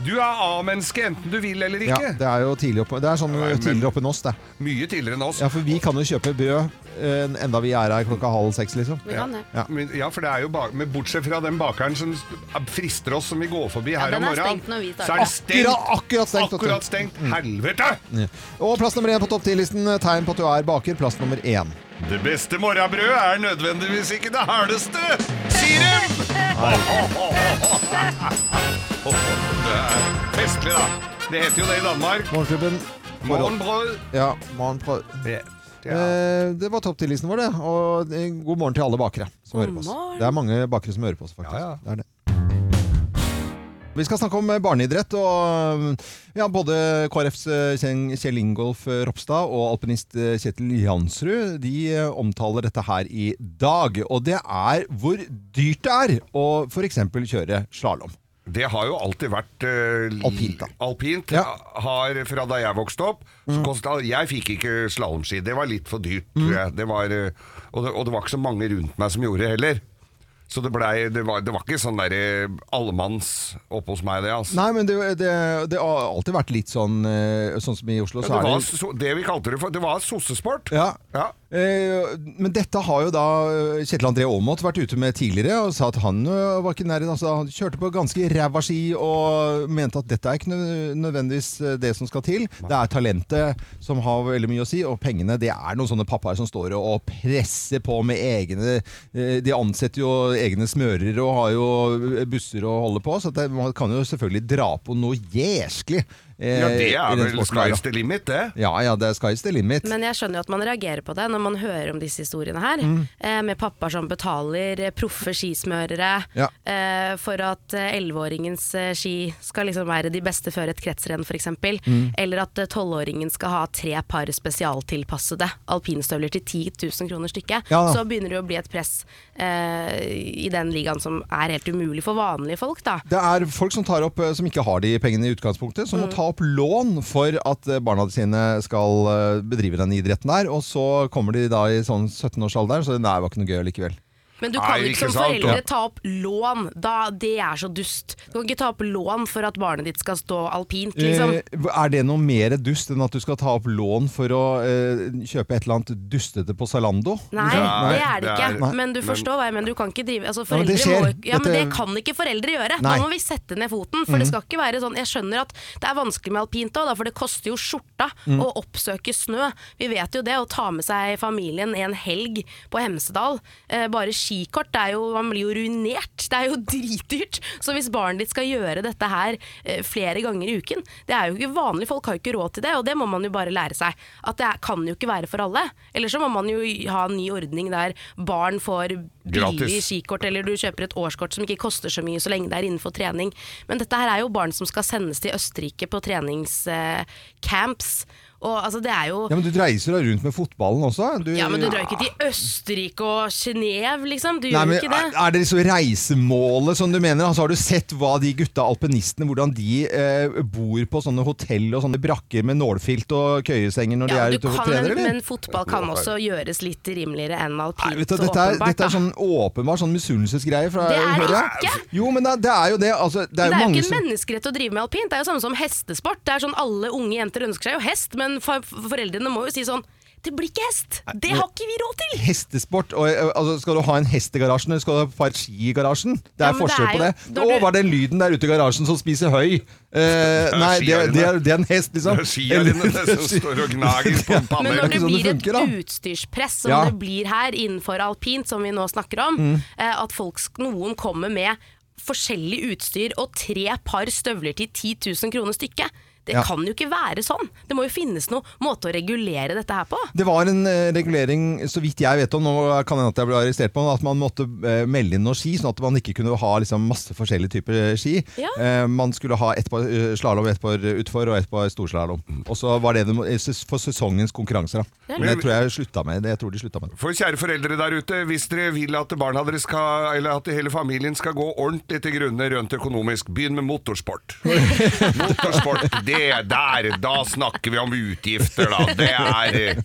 B: Du er A-menneske enten du vil eller
A: Ja,
B: ikke.
A: det er jo tidlig oppe. Det er sånn
B: Nei, men-
A: tidligere oppe enn oss, det.
B: Mye tidligere enn oss.
A: Ja, for vi kan jo kjøpe brød eh, enda vi er her klokka halv seks, liksom.
C: Vi kan det.
A: Ja.
B: Men, ja, for det er jo bak, men Bortsett fra den bakeren som s- frister oss som vi går forbi her om
C: den er
B: morgenen.
C: stengt når vi starter.
B: så er den stengt.
A: Akkurat, akkurat stengt. vet du.
B: Akkurat stengt. Helvete!
A: Og plass nummer én på topp ti-listen. Tegn på at du er baker. Plass nummer én.
B: Det beste morgenbrødet er nødvendigvis ikke det hardeste, sier de! Det er festlig, da. Det heter jo det i Danmark.
A: Morgenklubben. Forhold.
B: Morgenbrød.
A: Ja, morgenprø-
B: Ja.
A: Eh, det var topp ti-listen vår, det. Og eh, god morgen til alle bakere som hører på oss.
C: morgen.
A: Det er mange bakere som hører på oss, faktisk.
B: Ja, ja.
A: Det er det. Vi skal snakke om eh, barneidrett. og mm, ja, Både KrFs eh, Kjell Kjell Ingolf eh, Ropstad og alpinist eh, Kjetil Jansrud de eh, omtaler dette her i dag. Og det er hvor dyrt det er å f.eks. kjøre slalåm.
B: Det har jo alltid vært eh, l-
A: Alpint, da.
B: alpint.
A: Ja. Mm.
B: Har, fra da jeg vokste opp så kostet, Jeg fikk ikke slalåmski. Det var litt for dyrt, tror jeg. Det var, eh, og, det, og det var ikke så mange rundt meg som gjorde det heller. Så det, blei, det, var, det var ikke sånn derre allemanns oppe hos meg, det. altså.
A: Nei, men det, det, det har alltid vært litt sånn eh, Sånn som i Oslo,
B: det,
A: så er
B: var,
A: det
B: so- det vi kalte det for Det var sossesport.
A: ja.
B: Ja.
A: Eh, men dette har jo da eh, Kjetil André Aamodt vært ute med tidligere og sa at han eh, var ikke nær altså, Han kjørte på ganske ræva ski og mente at dette er ikke nø- nødvendigvis eh, det som skal til. Det er talentet som har veldig mye å si, og pengene det er noen sånne pappaer som står og og presser på med egne eh, De ansetter jo egne smørere og har jo eh, busser å holde på, så det, man kan jo selvfølgelig dra på noe jæsklig. eh,
B: ja, det
A: i
B: er
A: den
B: vel
A: sporten her, da.
B: sky's the limit, det.
A: Ja, ja, det er sky's the limit.
C: Men jeg skjønner jo at man reagerer på det når man hører om disse historiene her.
A: Mm.
C: Eh, med pappaer som betaler eh, proffe skismørere
A: Ja.
C: eh, for at elleveåringens eh, ski skal liksom være de beste før et kretsrenn f.eks.
A: Mm.
C: Eller at eh, tolvåringen skal ha tre par spesialtilpassede alpinstøvler til 10 000 kroner stykket.
A: Ja da.
C: Så begynner det å bli et press eh, i den ligaen som er helt umulig for vanlige folk, da.
A: Det er folk som tar opp, eh, som ikke har de pengene i utgangspunktet, som
C: Mm.
A: må ta opp lån for at eh, barna sine skal eh, bedrive den idretten der. Og så kommer de da i sånn 17-årsalderen, så nei, det var ikke noe gøy likevel.
C: Men du
B: Nei,
C: kan jo ikke
B: ikke
C: som
B: sant,
C: foreldre
B: ja.
C: ta opp lån. Da, det er så dust. Du kan ikke ta opp lån for at barnet ditt skal stå alpint, liksom.
A: Eh, er det noe mer dust enn at du skal ta opp lån for å eh, kjøpe et eller annet dustete på Zalando?
C: Nei,
B: Nei,
C: det er det
B: det
C: ikke.
B: er-
A: Nei.
C: Men du forstår hva jeg mener. Du kan ikke drive altså,
A: Ja, men
C: foreldre
A: det
C: må,
A: skjer.
C: ja, men Det
A: Dette-
C: kan ikke foreldre gjøre.
A: Nei.
C: Da må vi sette ned foten. For det skal ikke være sånn Jeg skjønner at det er vanskelig med alpint òg, for det koster jo skjorta å oppsøke snø. Vi vet jo det. Å ta med seg familien en helg på Hemsedal. Eh, bare skikort, det er jo, man blir jo ruinert. Det er jo dritdyrt. Så hvis barnet ditt skal gjøre dette her eh, flere ganger i uken Det er jo ikke vanlig, folk har jo ikke råd til det, og det må man jo bare lære seg. At det er- kan jo ikke være for alle. Eller så må man jo ha en ny ordning der barn får billig
B: Gratis.
C: skikort, eller du kjøper et årskort som ikke koster så mye så lenge det er innenfor trening. Men dette her er jo barn som skal sendes til Østerrike på treningscamps. Og altså, det er jo
A: Ja, men du reiser deg rundt med fotballen også. Du,
C: ja, men du drar jo ikke til Østerrike og Genéve, liksom. Du
A: Nei,
C: gjør
A: men
C: jo ikke
A: er,
C: det.
A: er det så reisemålet som du mener? Altså, har du sett hva de gutta alpinistene Hvordan de eh, bor på sånne hotell og sånne brakker med nålfilt og køyesenger når
C: Ja,
A: de er
C: du
A: ute og
C: kan,
A: trener, eller?
C: men fotball kan også gjøres litt rimeligere enn alpint,
A: Nei, vet du, dette, er,
C: åpenbart.
A: dette
C: da.
A: er sånn åpenbart sånn misunnelsesgreie. fra-
C: Det er det
A: hører jeg.
C: ikke.
A: Jo, men det, det er jo det. Altså, det er jo
C: Det er jo
A: mange
C: ikke en
A: som
C: menneskerett å drive med alpint. Det er jo samme som hestesport. Det er sånn Alle unge jenter ønsker seg jo hest, men fa- foreldrene må jo si sånn Det blir ikke hest! Det har ikke vi råd til!
A: Hestesport. Og, eh, altså, skal du ha en hest i garasjen, eller skal du ha et par ski i garasjen? Det er
C: Ja, men det
A: forskjell
C: er
A: på det.
C: jo- når
A: Å,
C: du-
A: var det lyden der ute i garasjen som spiser høy? Eh, nei, det,
B: skierne.
A: det, er, det er en hest, liksom.
B: Det er skierne
A: Eller-
B: som står og gnager på
C: Men
B: panner.
A: er
C: når det
A: ikke sånn det
C: blir
A: funker, da.
C: et utstyrspress, som
A: Ja. Mm.
C: det blir her innenfor alpint, som vi nå snakker om, eh, at folk, sk- noen kommer med forskjellig utstyr og tre par støvler til 10 000 kroner stykket. Det
A: Ja.
C: kan jo ikke være sånn. Det må jo finnes noen måte å regulere dette her på.
A: Det var en eh, regulering, så vidt jeg vet om, nå kan hende at jeg ble arrestert på den, at man måtte eh, melde inn noen ski, sånn at man ikke kunne ha liksom, masse forskjellige typer eh, ski.
C: Ja.
A: Eh, man skulle ha ett par eh, slalåm, ett par utfor og ett par storslalåm. Og så var det det må- eh, ses- for sesongens konkurranser. Da. Men det tror jeg slutta med. Det, jeg tror de slutta med. det.
B: For kjære foreldre der ute, hvis dere vil at barna deres skal, eller at hele familien skal gå ordentlig til grunne rønt økonomisk, begynn med motorsport. Motorsport, det der, da snakker vi om utgifter, da. Det er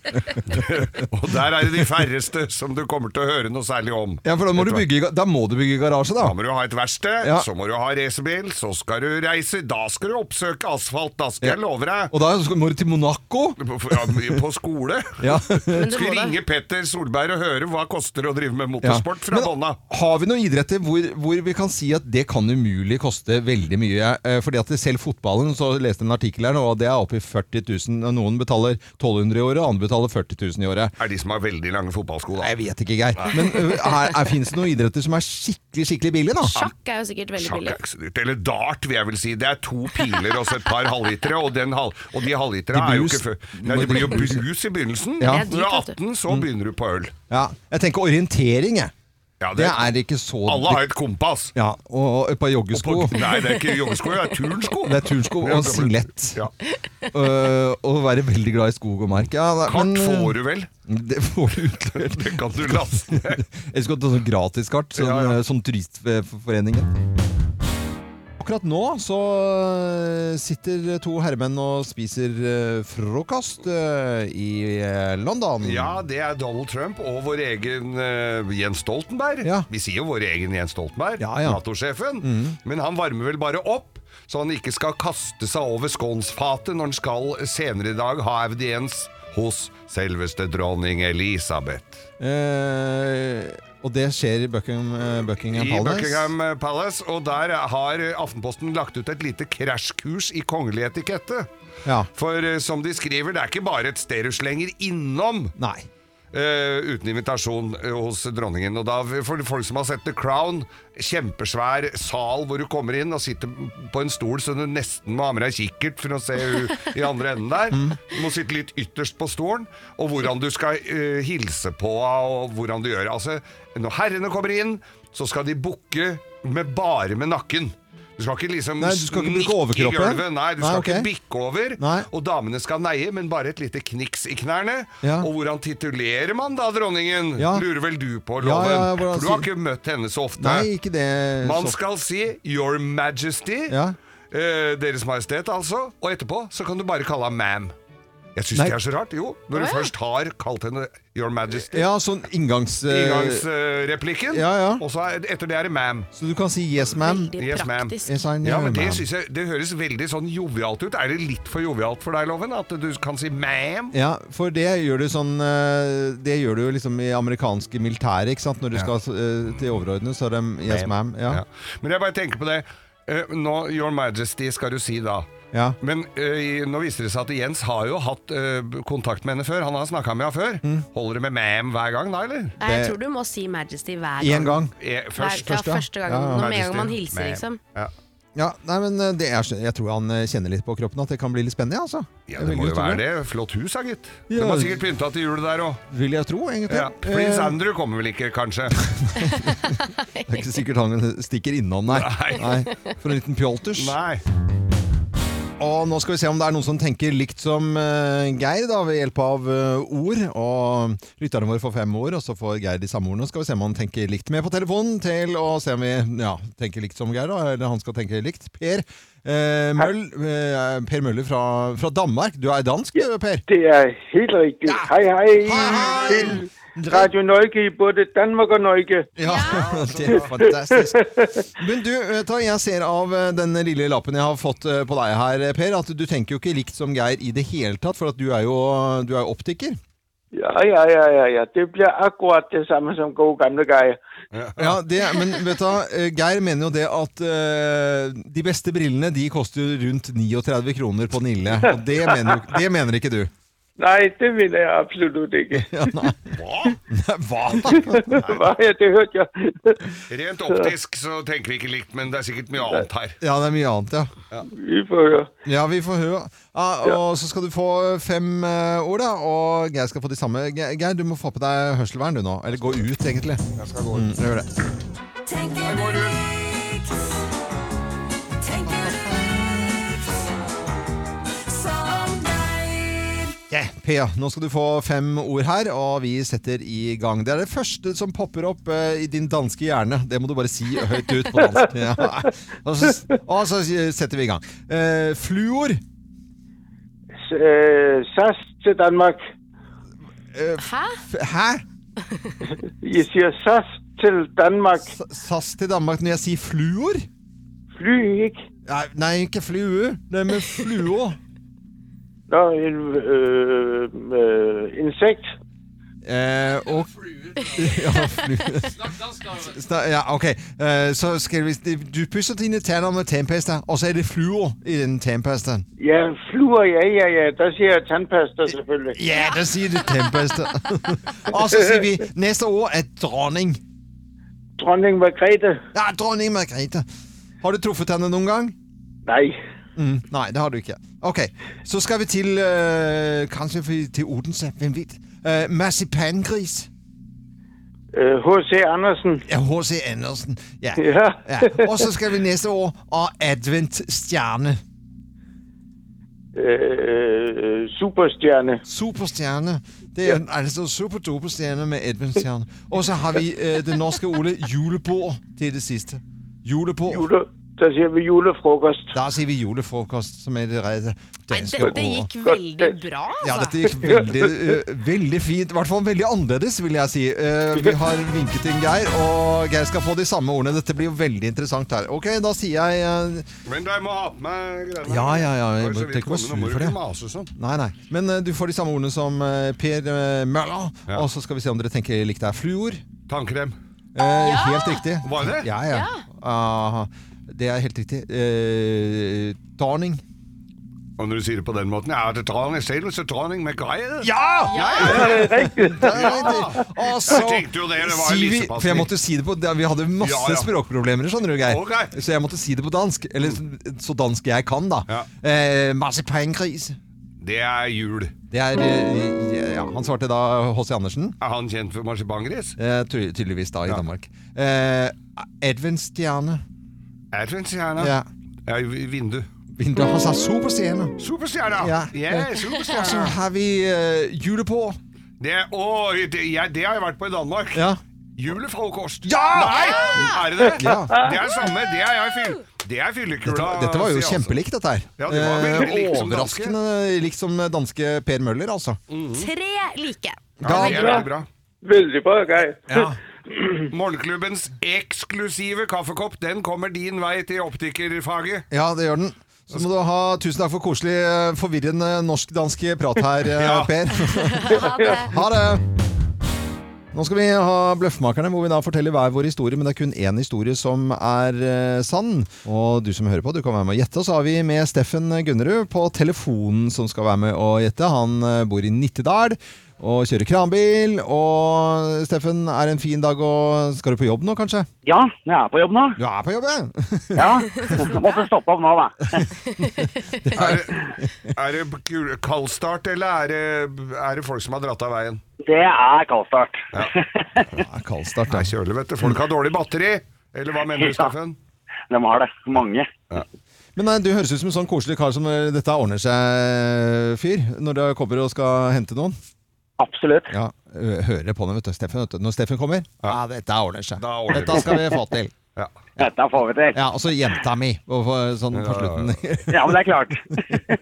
B: Og der er det de færreste som du kommer til å høre noe særlig om.
A: Ja, for da må, du bygge, i ga- da må du bygge garasje,
B: Da
A: da.
B: må du ha et verksted,
A: Ja.
B: så må du ha racerbil, så skal du reise, da skal du oppsøke asfalt, da skal jeg love deg.
A: Og da skal- må du til Monaco.
B: På, på skole.
A: Ja.
C: Men du
B: Skal
C: må da-
B: ringe Petter Solberg og høre hva koster å drive med motorsport
A: Ja.
B: fra
A: Men
B: bånda.
A: Har vi noen idretter hvor, hvor vi kan si at det kan umulig koste veldig mye? Eh, Fordi at det- selv fotballen, så leste jeg en artikkel her nå, og det er oppe i 40 000. og Noen betaler 1200 i året, og andre betaler 40 000 i året.
B: er de som har veldig lange fotballsko,
A: Nei,
B: da.
A: Jeg vet ikke, Geir. Men eh, er, er, finnes det noen idretter som er skikkelig, skikkelig billige, da?
C: Sjakk er jo sikkert veldig
B: Sjakk
C: billig.
B: er ikke så dyrt. Eller dart, vil jeg vel si. Det er to piler og så et par halvlitere, og, den halv, og de halvlitere
A: De
B: er jo
A: brus.
B: ikke før Nei, det blir jo brus i begynnelsen.
A: Ja. Mm.
B: Når du er 18, så begynner du på øl.
A: Ja. Jeg tenker orientering, jeg.
B: Ja,
A: Det er ikke så
B: Alle har et kompass.
A: Ja, og og et par
B: Og på-
A: joggesko.
B: Nei, det er ikke joggesko, det er turnsko.
A: Det er turnsko og en singlet.
B: Ja.
A: Øh, og være veldig glad i skog og mark. Ja, da-
B: Kart
A: men, eh,
B: får du vel?
A: Det får du utlevert.
B: Det kan du laste ned.
A: Jeg skulle hatt sånn gratiskart, sånn,
B: Ja, ja.
A: sånn turistforeningen. Akkurat nå så eh, sitter to herremenn og spiser eh, frokost eh, i eh, London.
B: Ja, det er Donald Trump og vår egen eh, Jens Stoltenberg.
A: Ja.
B: Vi sier jo vår egen Jens Stoltenberg,
A: Ja, Mm. ja.
B: Nato-sjefen. Men han varmer vel bare opp, så han ikke skal kaste seg over skånsfatet når han skal senere i dag ha audiens hos selveste dronning Elisabeth.
A: Eh, og det skjer i Buckingham, eh, Buckingham
B: I
A: Palace.
B: Buckingham Palace, og der har Aftenposten lagt ut et lite krasjkurs i kongelig etikette.
A: Ja.
B: For eh, som de skriver, det er ikke bare et sterus lenger innom
A: Nei.
B: Eh, uten invitasjon eh, hos dronningen. Og da, for folk som har sett The Crown, kjempesvær sal hvor du kommer inn og sitter på en stol så du nesten må ha med deg kikkert for å se u- i andre enden der.
A: Mm.
B: Du må sitte litt ytterst på stolen, og hvordan du skal eh, hilse på og hvordan du gjør det. Altså, når herrene kommer inn, så skal de bukke med bare med nakken. Du skal ikke liksom
A: Nei, du skal ikke bruke
B: nikke i
A: overkroppen?
B: gulvet. Nei, du
A: Nei,
B: skal
A: ok.
B: ikke bikke over.
A: Nei.
B: Og damene skal neie, men bare et lite kniks i knærne.
A: Ja.
B: Og hvordan titulerer man da dronningen?
A: Ja.
B: Lurer vel du på,
A: Ja,
B: Loven?
A: ja, hvordan
B: For du har
A: sier-
B: ikke møtt henne så ofte.
A: Nei, ikke det.
B: Man
A: så-
B: skal si 'Your Majesty',
A: Ja.
B: eh, Deres Majestet altså, og etterpå så kan du bare kalle henne ma'am. Jeg syns
A: Nei.
B: det er så rart. Jo, når du
C: Å, ja.
B: først har kalt henne 'Your Majesty'.
A: Ja, sånn inngangs... eh,
B: Inngangsreplikken,
A: Ja, ja.
B: og så er- etter det er det 'ma'am'.
A: Så du kan si yes, ma'am.
C: Veldig
B: Yes, ma'am.
C: praktisk.
A: Yes, I know,
B: Ja, men
A: ma'am.
B: det, synes jeg, det høres veldig sånn jovialt ut. Er det litt for jovialt for deg, Loven? At du kan si 'ma'am'?
A: Ja, for det gjør du sånn eh, Det gjør du jo liksom i amerikanske militære, ikke sant? Når du skal eh, til overordnet, så er det yes, ma'am. Ja.
B: Ja. Men jeg bare tenker på det. Eh, nå, Your Majesty skal du si da.
A: ja.
B: Men eh, nå viser det seg at Jens har jo hatt eh, kontakt med henne før. Han har snakka med henne før.
A: Mm.
B: Holder det med ma'am hver gang da, eller?
C: Nei, Jeg tror du må si Majesty hver gang.
A: Én gang.
B: Eh,
C: Hver,
B: først.
C: ja,
A: ja.
C: første gang.
A: Ja, ja.
C: Når med en gang man
B: Majesty.
C: hilser,
B: Ma'am.
C: liksom.
B: Ja.
A: Ja, nei, men eh, det er, jeg tror han eh, kjenner litt på kroppen at det kan bli litt spennende, altså. Jeg
B: ja, det
A: vil
B: må jo
A: tro
B: være det. Flott hus, da, gitt.
A: Ja.
B: De har sikkert pynta til jul der òg.
A: Vil jeg tro, egentlig.
B: Ja. Prins
A: Eh,
B: Andrew kommer vel ikke, kanskje?
A: det er ikke sikkert han stikker innom, nei.
B: Nei.
A: For en liten pjolters.
B: Nei.
A: Og nå skal vi se om det er noen som tenker likt som eh, Geir, da, ved hjelp av eh, ord. Og lytterne våre får fem ord, og så får Geir de samme ordene. Skal vi se om han tenker likt med på telefonen, til å se om vi ja, tenker likt som Geir, da, eller han skal tenke likt. Per eh, Møll, eh, Per Møller fra, fra Danmark. Du er dansk, du, Per?
H: Det er helt rigtigt.
A: Ja.
H: Hej, hej.
A: Hej, hej.
H: Til Radio Norge i både Danmark og Norge.
A: Ja, det er fantastisk. Men du, vet du, hva, jeg ser av eh, den lille lappen jeg har fått eh, på deg her, eh, Per, at du tenker jo ikke likt som Geir i det hele tatt, for at du er jo, du er jo optiker.
H: Ja, ja, ja, ja, ja. Det bliver akkurat det samme som gode gamle Geir.
A: Ja, det, men vet du, hva, eh, Geir mener jo det at eh, de beste brillene de koster jo rundt 39 kroner på Nille. Og det mener, jo- det mener ikke du.
H: Nej, det vil jeg absolut ikke.
A: Ja, nei. Hva?
H: Hva? Ja, det hørte jeg.
B: Rent optisk så tenker vi ikke likt, men det er sikkert mye annet her.
A: Ja, det er mye annet, ja.
H: Vi får høre.
A: Ja, vi får høre. Ja, og så skal du få fem eh, ord, da. Og Geir skal få de samme. Ge- Geir, du må få på deg hørselvern du nå. Eller gå ut, egentlig. Jeg skal gå ut. Mm, gjør det. Yeah, Pia, nå skal du få fem ord her, og vi setter i gang. Det er det første som popper opp eh, i din danske hjerne. Det må du bare si høyt ut på dansk. Ja. Og, så, og så setter vi i gang. Eh, fluor.
H: S- øh, SAS til Danmark.
C: Hæ?
A: F Hæ?
H: Jeg siger SAS til Danmark.
A: S- SAS til Danmark når jeg sier fluor?
H: Fly ikke.
A: Nei, nei ikke flue. Det er med fluor.
H: Nå, en, øh, øh, insekt.
A: Eh, og ja, fluer. Sna- ja, ok. Eh, så skal vi Du pusser dine tenner med tannpasta, og så er det fluor i den tannpastaen.
H: Ja, fluer, ja, ja, ja. Der siger jeg tandpasta selvfølgelig.
A: Ja, der sier du tannpasta. og så sier vi neste ord er dronning.
H: Dronning Margrethe.
A: Ja, dronning Margrethe. Har du truffet henne noen gang?
H: Nej.
A: Mm, nei, det har du ikke. Ok, så skal vi til øh, Kanskje vi til Odense, hvem vet? Uh, marsipangris.
H: Øh, H.C. Andersen.
A: Ja, H.C. Andersen. Ja.
H: Ja.
A: ja. Og så skal vi næste år og adventstjerne.
H: Øh, øh, superstjerne.
A: Superstjerne. Det er en- altså superduperstjerne med adventstjerne. Og så har vi øh, det norske Ole julebord. Det er det sidste. Julebord.
H: Jule, der siger vi julefrokost.
A: Der sier vi julefrokost, som er det rette
C: Nei,
A: danske
C: dette
A: ordet.
C: gikk veldig bra,
A: Ja, dette
C: altså.
A: gikk veldig, øh, veldig fint. I hvert fall veldig annerledes, vil jeg si. Eh, vi har vinket inn Geir, og Geir skal få de samme ordene. Dette blir jo veldig interessant her. Ok, da sier jeg eh,
B: Men jeg må ha på meg greiene.
A: Ja, ja, ja, jeg
B: Bare
A: må-
B: så vidt
A: tenk å være
B: komme, nå må
A: sur
B: du
A: for
B: ikke
A: det.
B: mase sånn.
A: Nei, nei. Men eh, du får de samme ordene som eh, Per eh, Møller.
B: Ja.
A: Og så skal vi se om dere tenker likt der. Fluor.
B: Tannkrem.
A: Eh, Helt riktig.
B: Var det?
A: Ja, ja. Aha. det er helt riktig. Eh, darning.
B: Og når du sier det på den måten Ja, det er dronning selv, så dronning med greier.
A: Ja! Og så
B: Jeg tenkte jo det, det var en
A: sier vi
B: lissepasning.
A: For jeg måtte si det på Vi hadde masse
B: Ja, ja.
A: språkproblemer, skjønner du, Geir.
B: Ok.
A: Så jeg måtte si det på dansk. Eller så dansk jeg kan, da.
B: Ja.
A: Eh, marsipangris.
B: Det er jul.
A: Det er eh, Ja, han svarte da H.C. Andersen.
B: Er han kjent for marsipangris?
A: Eh, ty tydeligvis da i
B: Ja.
A: Danmark. Eh, Adventstjerne.
B: Ertrensstjerna.
A: Ja.
B: Ja, vi- vindu.
A: Vindu har sagt superstjerne.
B: Superstjerna!
A: Ja.
B: Yeah,
A: Og så
B: superstjerna.
A: har vi eh, julebord.
B: Det, å, det, ja, det har jeg vært på i Danmark.
A: Ja.
B: Julefrokost.
A: Ja!
B: Nei! Er det det?
A: Ja.
B: Det er samme. Det er jeg fyll. Det er fyllekula.
A: Dette, var- dette var jo
B: sier jeg, altså.
A: kjempelikt, dette her.
B: Ja, det var veldig
A: Eh,
B: likt som danske.
A: overraskende likt som eh, danske Per Møller, altså.
C: Tre like.
B: Ja,
A: Da-
B: det er veldig bra.
H: Vældig bra, Geir.
A: Ja.
B: Morgenklubbens eksklusive kaffekopp, den kommer din vei til optikerfaget.
A: Ja, det gjør den. Så må du ha tusen takk for koselig, eh, forvirrende norsk-dansk prat her, eh,
B: Ja.
A: Per.
C: Ha det.
A: Ha det! Nå skal vi ha Bløffmakerne, hvor vi da forteller hver vår historie, men det er kun én historie som er eh, sann. Og du som hører på, du kan være med å gjette. Og så har vi med Steffen Gunnerud på telefonen som skal være med å gjette. Han eh, bor i Nittedal og kjører kranbil. Og Steffen, er det en fin dag og Skal du på jobb nå, kanskje?
D: Ja, jeg er på jobb nå.
A: Du er på jobb, ja?
D: Ja. Måtte stoppe opp nå, da.
B: Er det, er det kul- kaldstart, eller er det, er det folk som har dratt av veien?
D: Det er kaldstart.
A: Ja, Kaldstart,
B: Det
A: da.
B: er kjølig, vet du. Folk
C: Mm.
B: har dårlig batteri. Eller hva mener du, Steffen?
D: De har det. Mange.
A: Men nei, du høres ut som en sånn koselig kar som eh, dette ordner seg-fyr, når du kommer og skal hente noen.
D: Absolutt.
A: Ja, ø- hører på det, vet du. Steffen, vet du. Når Steffen kommer, ja, dette ordner seg.
B: Da ordner
A: dette skal vi få til.
B: Ja.
D: Dette får vi til.
A: Ja, og så jenta mi, og for- sånn på slutten.
D: Ja, men det er klart.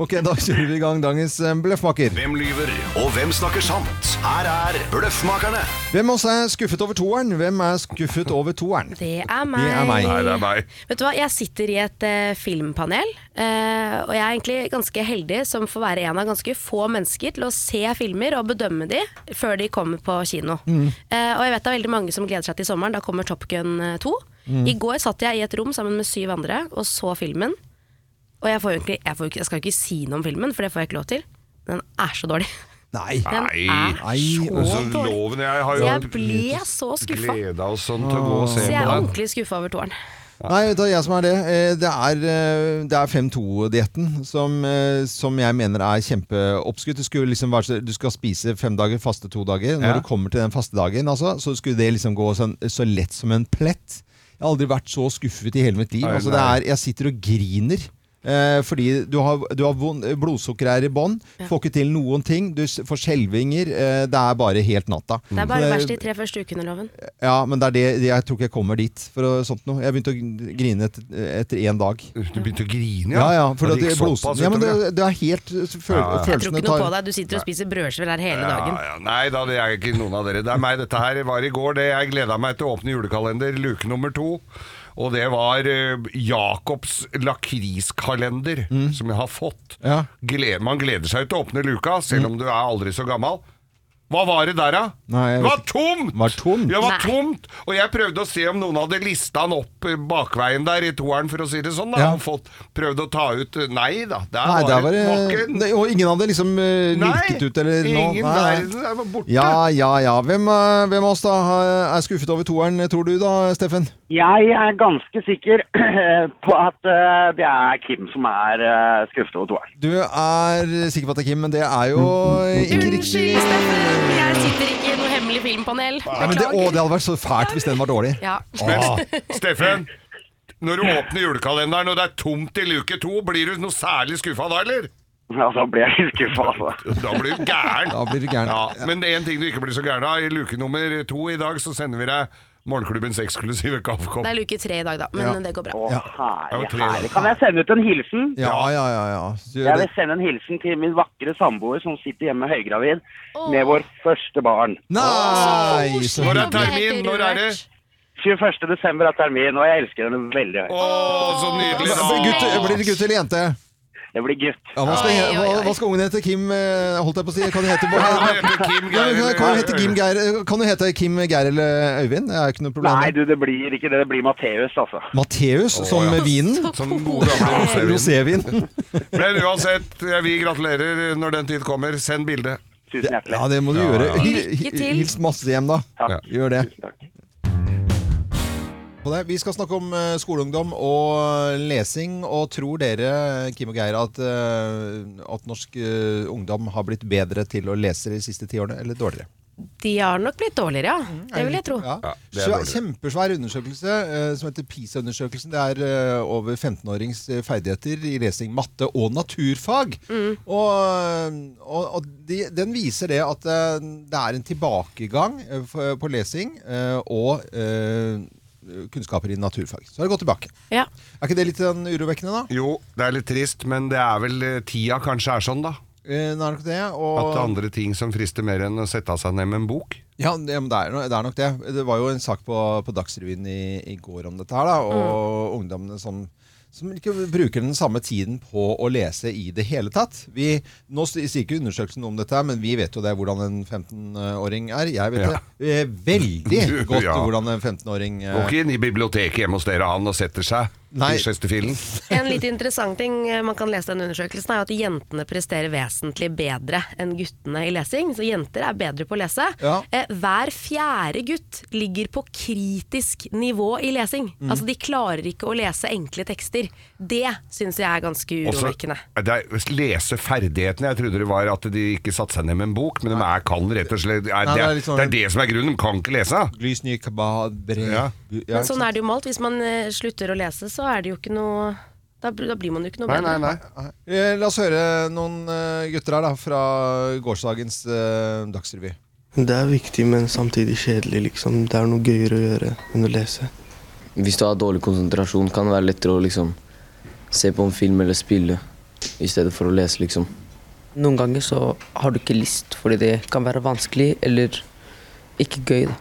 A: ok, da kjører vi i gang dagens eh, bløffmaker.
I: Hvem lyver, og hvem snakker sant? Her er Bløffmakerne.
A: Hvem av oss er skuffet over toeren? Hvem er skuffet over toeren?
C: Det er meg.
A: Det er meg.
B: Nei, det er meg.
C: Vet du hva, jeg sitter i et eh, filmpanel, eh, og jeg er egentlig ganske heldig som får være en av ganske få mennesker til å se filmer og bedømme de før de kommer på kino. Eh, og jeg vet det er veldig mange som gleder seg til sommeren, da kommer Top Gun eh, 2. I går satt jeg i et rom sammen med syv andre og så filmen. Og jeg, får jo egentlig, jeg, får, jo ikke- jeg skal jo ikke si noe om filmen, for det får jeg ikke lov til. Den er så dårlig.
A: Nei.
C: Den
B: Nei.
A: Nei,
C: er
B: Og
C: så
B: så
C: dårlig.
B: loven jeg har
C: Så
B: jo
C: jeg ble så skuffa.
B: gleda oss sånn til å gå og se
C: Så
B: på
C: jeg er
B: den.
C: ordentlig skuffa over toeren.
A: Nei, vet du, jeg som er det. Eh, Det er, eh, det er 5-2-dietten som, eh, som jeg mener er kjempeoppskutt. Det skulle liksom være, så- du skal spise fem dager, faste to dager. Når du
B: Ja.
A: kommer til den faste dagen, altså, så skulle det liksom gå sånn, så lett som en plett. Jeg har aldri vært så skuffet i hele mitt liv.
B: Nei,
A: Altså, det
B: nei.
A: er, jeg sitter og griner. Eh, fordi du har, du har vond, eh, blodsukker er i bånn, får ikke til noen ting, du s- får skjelvinger. Eh, det er bare helt natta.
C: Det er
A: Så
C: bare
A: det-
C: verst de tre første ukene, loven.
A: ja, men det er det, jeg tror ikke jeg kommer dit for å, sånt noe. Jeg begynte å gn- grine et, etter én dag.
B: Du begynte å grine,
A: Ja, ja, for
B: Og
A: det, det,
B: gikk
A: blods-
B: såpass
A: ja men det,
B: utover,
A: det er helt eh, føl,
B: Ja, ja.
C: Jeg tror
A: følelsene
C: ikke noe på deg. Du sitter og spiser brødskiver her hele dagen.
B: Ja, ja. Nei da, det er ikke noen av dere. Det er meg. Dette her var i går. Det jeg gleda meg til å åpne julekalender, luke nummer to. Og det var eh, Jacobs lakriskalender, som jeg har fått.
A: Mm. Ja. Mm.
B: Gled, man gleder seg jo til å åpne luka, selv om du er aldri så gammel. Hva var det der, da?
A: Nei, jeg
B: det var
A: vet
B: tomt!
A: Var tomt?
B: Ja, det var
C: Nei.
B: tomt! Og jeg prøvde å se om noen hadde lista den opp eh, bakveien der i toeren, for å si det sånn. da
A: Ja.
B: Og fått, Prøvd å ta ut eh, Nei da, der
A: Nei, der
B: var
A: var
B: det
A: det
B: nok en-
A: Nei, Og ingen hadde liksom eh, lirket ut eller noe?
B: ingen
A: Nei, nei.
B: verden er borte.
A: Ja, ja, ja. Hvem, eh, hvem av oss da har- er skuffet over toeren, tror du da, Steffen?
D: Jeg er ganske sikker på at eh, det er Kim som er eh, skuffet over toeren.
A: Du er sikker på at det er Kim, men det er jo ikke
C: Unnskyld,
A: riktig.
C: Steffen. Jeg sitter ikke i noe hemmelig filmpanel.
A: Nei, men det, å, det hadde vært så fælt hvis den var dårlig.
C: Ja.
B: Men
A: Ah.
B: Ste- Steffen, når du åpner julekalenderen og det er tomt i luke to, blir du noe særlig skuffa da, eller?
D: Ja, da ble jeg skuffa, altså.
B: Da blir du gæren.
A: Da blir du gæren.
B: Ja, men én ting du ikke blir så gæren av, i luke nummer to i dag så sender vi deg Morgenklubbens eksklusive kaffekopp.
C: Det er luke tre i dag, da. Men
A: Ja.
C: det går bra.
D: Å,
A: Ja.
D: herlig,
B: Det var tre, da.
D: herlig. Kan jeg sende ut en hilsen?
A: Ja, ja, ja. ja. Så gjør
D: Jeg
A: det.
D: vil sende en hilsen til min vakre samboer som sitter hjemme høygravid
C: Åh.
D: med vår første barn.
A: Nei! Så
B: Når
A: hyggelig.
B: er termin? Når er det?
D: 21. desember er termin, og jeg elsker henne veldig høyt.
B: Å, så nydelig, da!
A: Blir gutt- Blir det gutt eller jente?
D: Det blir gutt.
A: Ja, hva, skal,
C: Oi, oi,
A: hva,
C: oi.
A: hva skal ungen hete? Kim eh, Holdt jeg på å si. Kan du hete
B: Ja, han heter Kim
A: Ja,
B: Geir,
A: men kan- kan du hete
B: eller-
A: Kim Geir Kan du hete Kim Geir eller Øyvind? Det er ikke noe problem.
D: Nei, du, det blir ikke det. Det blir Matteus, altså.
A: Matteus som
B: ja.
A: vinen.
B: Som gode gamle rosévin.
A: Rosévin.
B: Men uansett, vi gratulerer når den tid kommer. Send bilde.
D: Tusen hjertelig.
A: Ja, det må du gjøre. Hil-
C: Lykke til.
A: Hils masse hjem, da.
D: Takk.
A: Gjør det.
D: Tusen takk.
A: På det. Vi skal snakke om eh, skoleungdom og eh, lesing. Og tror dere, Kim og Geir, at, eh, at norsk eh, ungdom har blitt bedre til å lese de siste ti årene, eller dårligere?
C: De har nok blitt dårligere, ja. Det vil jeg tro.
A: Ja.
B: Ja, det er
A: Svær-
B: dårlig.
A: kjempesvær undersøkelse eh, som heter PISA-undersøkelsen. Det er eh, over 15-årings eh, ferdigheter i lesing, matte og naturfag.
C: Mm.
A: Og, eh, og, og de, den viser det at eh, det er en tilbakegang eh, for- på lesing eh, og eh, kunnskaper i naturfag. Så har det gått tilbake.
C: Ja.
A: Er ikke det litt sånn urovekkende, da?
B: Jo, det er litt trist, men det er vel eh, tida kanskje er sånn, da.
A: Eh, nå er det nok det.
B: At det er
A: Og,
B: andre ting som frister mer enn å sette seg ned med en bok.
A: ja, det, men det, er, no- det er nok det. Det var jo en sak på, på Dagsrevyen i, i går om dette her, da,
C: Mm.
A: og ungdommene som som ikke bruker den samme tiden på å lese i det hele tatt. Vi, nå s- sier ikke undersøkelsen om dette, her, men vi vet jo det hvordan en 15-åring er. Jeg vet
B: Ja.
A: det eh, veldig
B: Du,
A: godt
B: ja.
A: hvordan en 15-åring eh,
B: Går ikke inn i biblioteket hjemme hos dere han og setter seg
A: Nei.
B: i Chesterfielden.
C: En litt interessant ting eh, man kan lese i den undersøkelsen, er jo at jentene presterer vesentlig bedre enn guttene i lesing. Så jenter er bedre på å lese.
A: Ja.
C: Eh, Hver fjerde gutt ligger på kritisk nivå i lesing.
A: Mm.
C: Altså de klarer ikke å lese enkle tekster. Det syns jeg er ganske
B: Også-
C: urovekkende.
B: Det er leseferdighetene. Jeg trodde det var at de ikke satte seg ned med en bok, men de er kan rett og slett er,
A: Nei,
B: det,
A: det er
B: er
A: litt sånn-
B: det er det som er grunnen. De kan ikke lese.
A: Lys, ny kabad, bre
B: Ja.
A: gu- ja,
C: Men sånn er det jo med alt. Hvis man eh, slutter å lese, så er det jo ikke noe Da, da blir man jo ikke noe bedre.
A: Eh, La oss høre noen eh, gutter her da, fra gårsdagens eh, Dagsrevy.
J: Det er viktig, men samtidig kjedelig, liksom. Det er noe gøyere å gjøre enn å lese. Hvis du har dårlig konsentrasjon, kan det være lettere å liksom se på en film eller spille i stedet for å lese, liksom.
K: Noen ganger så har du ikke lyst, fordi det kan være vanskelig eller ikke gøy. Da.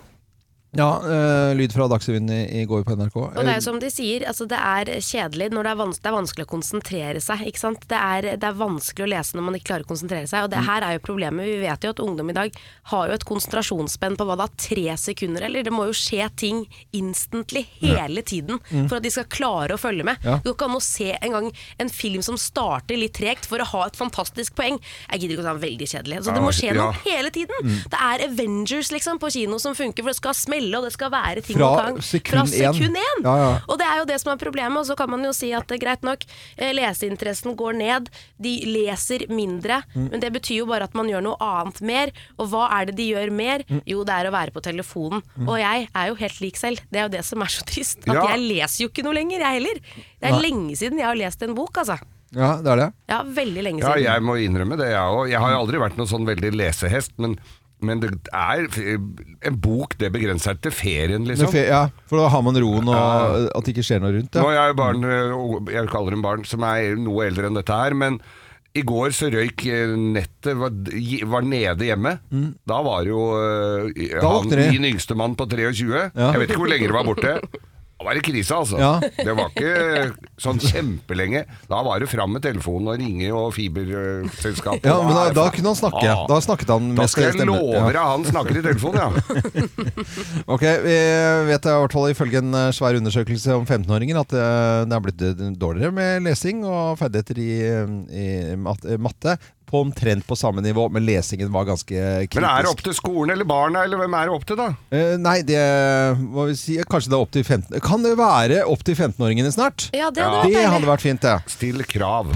A: Ja, eh, lyd fra Dagsrevyen i, i går på NRK.
C: Og det er jo som de sier, altså det er kjedelig når det er, vans det er vanskelig å konsentrere seg. Ikke sant? Det, er, det er vanskelig å lese når man ikke klarer å konsentrere seg. Og
A: Mm.
C: det her er jo problemet. Vi vet jo at ungdom i dag har jo et konsentrasjonsspenn på hva da, tre sekunder, eller? Det må jo skje ting instantly hele tiden
L: Mm.
C: for at de skal klare å følge med.
L: Ja.
C: Du kan nå se en gang en film som starter litt tregt for å ha et fantastisk poeng. Jeg gidder ikke å ta den veldig kjedelig. Så det må skje
A: Ja.
C: noe hele tiden.
A: Mm.
C: Det er Avengers liksom på kino som funker, for det skal smelle, og det skal være ting
A: Fra
C: og tang.
A: sekund
C: Fra
A: én.
C: sekund én!
A: Ja, ja.
C: Og det er jo det som er problemet, og så kan man jo si at det er greit nok, eh, leseinteressen går ned, de leser mindre,
L: Mm.
C: men det betyr jo bare at man gjør noe annet mer, og hva er det de gjør mer?
L: Mm.
C: Jo, det er å være på telefonen,
L: Mm.
C: og jeg er jo helt lik selv, det er jo det som er så trist, at
A: Ja.
C: jeg leser jo ikke noe lenger, jeg heller. Det er
A: Nei.
C: lenge siden jeg har lest en bok, altså.
A: Ja, det er det.
C: Ja, veldig lenge
B: Ja,
C: siden.
B: jeg må innrømme det, jeg òg. Jeg har jo aldri vært noen sånn veldig lesehest, men, men det er en bok det begrenser til ferien,
A: Men
B: liksom.
A: fe- Ja, for da har man roen og at det ikke skjer noe rundt.
B: Nå
A: Ja.
B: har jeg jo barn, øh, jeg kaller dem barn, som er noe eldre enn dette her, men i går så røyk øh, nettet, var, gi- var nede hjemme.
A: Mm.
B: Da var jo øh,
A: Da
B: han,
A: våkner de.
B: min yngste mann på 23.
A: Ja.
B: Jeg vet ikke hvor lenge det var borte. Da var det krise, altså.
A: Ja.
B: Det var ikke sånn kjempelenge. Da var det fram med telefonen og ringe og fiberselskapet.
A: Ja, men da, da kunne han snakke.
B: Ja.
A: Da snakket han
B: Ah. Da
A: mest
B: skal jeg
A: stemmer.
B: love deg, han snakker i telefonen, ja.
A: Ok, Vi vet i hvert fall ifølge en eh, svær undersøkelse om 15-åringer at eh, det er blitt eh, dårligere med lesing og ferdigheter i, eh, i mat- eh, matte på omtrent på samme nivå, men lesingen var ganske eh, kritisk.
B: Men er det opp til skolen eller barna, eller hvem er det opp til, da?
A: Eh, Nei, det må vi si Kanskje det er opp til 15 Kan det være opp til 15-åringene snart?
C: Ja, det
B: hadde vært
A: det
B: deilig.
A: hadde vært fint, det.
B: Still krav.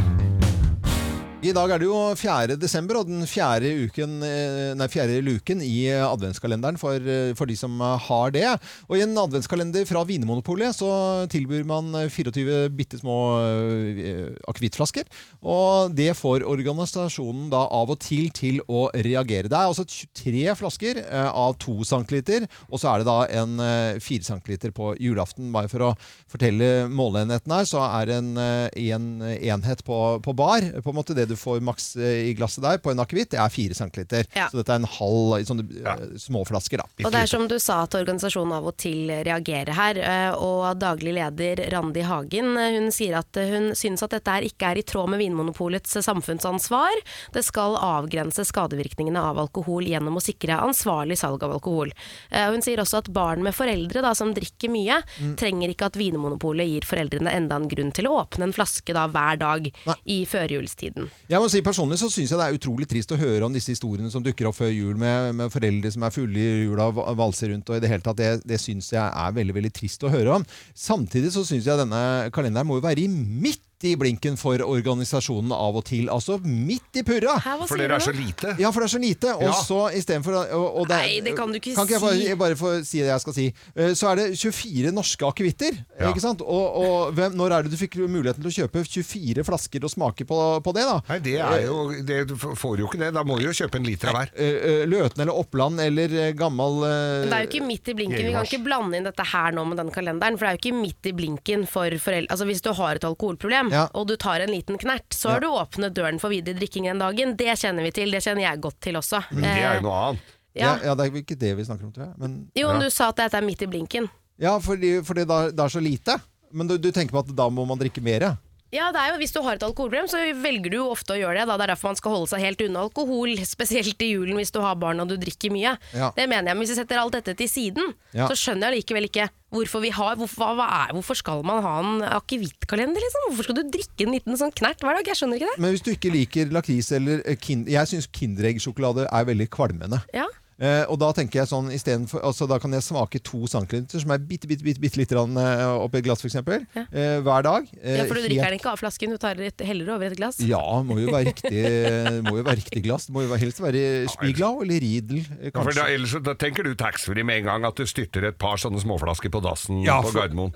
A: I dag er det jo 4. desember, og den fjerde, uken, eh, nei, fjerde luken i eh, adventskalenderen for, eh, for de som eh, har det. Og i en adventskalender fra Vinmonopolet så tilbyr man eh, 24 bitte små eh, akevittflasker. Og det får organisasjonen da av og til til å reagere. Det er altså 23 flasker eh, av 2 cm, og så er det da en eh, 4 cm på julaften. Bare for å fortelle måleenheten her, så er en, eh, en enhet på, på bar, på en måte det du får maks eh, i glasset der, på en akevitt, det er 4 cm.
C: Ja.
A: Så dette er en halv i sånne eh, små flasker, da.
C: Og det er som du sa at organisasjonen av og til reagerer her, eh, og daglig leder Randi Hagen eh, hun sier at eh, hun synes at dette her ikke er i tråd med Vinmonopolets eh, samfunnsansvar. Det skal avgrense skadevirkningene av alkohol gjennom å sikre ansvarlig salg av alkohol. Eh, og Hun sier også at barn med foreldre da, som drikker mye,
L: Mm.
C: trenger ikke at Vinmonopolet gir foreldrene enda en grunn til å åpne en flaske da, hver dag i førjulstiden.
A: Jeg må si Personlig så syns jeg det er utrolig trist å høre om disse historiene som dukker opp før jul, med, med foreldre som er fulle i jula og va- valser rundt. og i Det hele tatt, det, det syns jeg er veldig veldig trist å høre om. Samtidig så syns jeg denne kalenderen må jo være i midt i blinken for organisasjonen av og til. Altså midt i purra!
B: hva For sier dere er du? så lite.
A: Ja, for det er så lite. Og
B: Ja.
A: så istedenfor og, og
C: Nei, det kan du ikke
A: kan ikke jeg
C: si.
A: bare, bare få si det jeg skal si. Eh, Så er det 24 norske akevitter.
B: Ja.
A: Ikke sant? Og, og hvem, når er det du fikk muligheten til å kjøpe 24 flasker og smake på, på det, da?
B: Nei, det er jo det, Du får jo ikke det. Da må du jo kjøpe en liter av hver.
A: Eh, eh, Løten eller Oppland eller eh, gammal
C: Men det er jo ikke midt i blinken. Vi kan ikke blande inn dette her nå med den kalenderen. For det er jo ikke midt i blinken for foreldre Altså hvis du har et alkoholproblem, og du tar en liten knert, så har
B: Ja.
C: du åpnet døren for videre drikking den dagen. Det kjenner vi til. Det kjenner jeg godt til også.
A: Men det
B: Det er
C: Eh,
B: jo noe annet.
A: ja.
C: Ja.
A: ja, det er ikke det vi snakker om, tror jeg. Men,
C: Jo, men du sa at dette er midt i blinken.
A: Ja, fordi, fordi da, det er så lite. Men du, du tenker på at da må man drikke mer? ja?
C: Ja, det er jo, Hvis du har et alkoholproblem, så velger du jo ofte å gjøre det. Da. Det er derfor man skal holde seg helt unna alkohol, spesielt i julen hvis du har barn og du drikker mye.
L: Ja.
C: Det mener jeg, men Hvis vi setter alt dette til siden,
L: Ja.
C: så skjønner jeg likevel ikke hvorfor vi har Hvorfor, hva, hva er, hvorfor skal man ha en akevittkalender, liksom? Hvorfor skal du drikke en liten sånn knert hver dag? Jeg skjønner ikke det.
A: Men hvis du ikke liker lakris eller eh, kin Jeg syns Kinderegg-sjokolade er veldig kvalmende.
C: Ja.
A: Eh, og da tenker jeg sånn i stedet for, altså, Da kan jeg smake to centiliter, som er bitte bitte, bitte, bitte lite grann eh, oppi et glass, f.eks. eksempel Eh, hver dag. Eh,
C: Ja, For du drikker
A: helt-
C: den ikke av flasken, du tar det heller over et glass.
A: Ja, må jo være riktig, må jo være riktig glass. Det må jo være- helst være Spiglau eller Riedel. eh,
B: Ja, for da,
A: Kanskje.
B: ellers så- da tenker du taxfree med en gang at du styrter et par sånne småflasker på dassen
A: Ja,
B: på
A: for-
B: Gardermoen.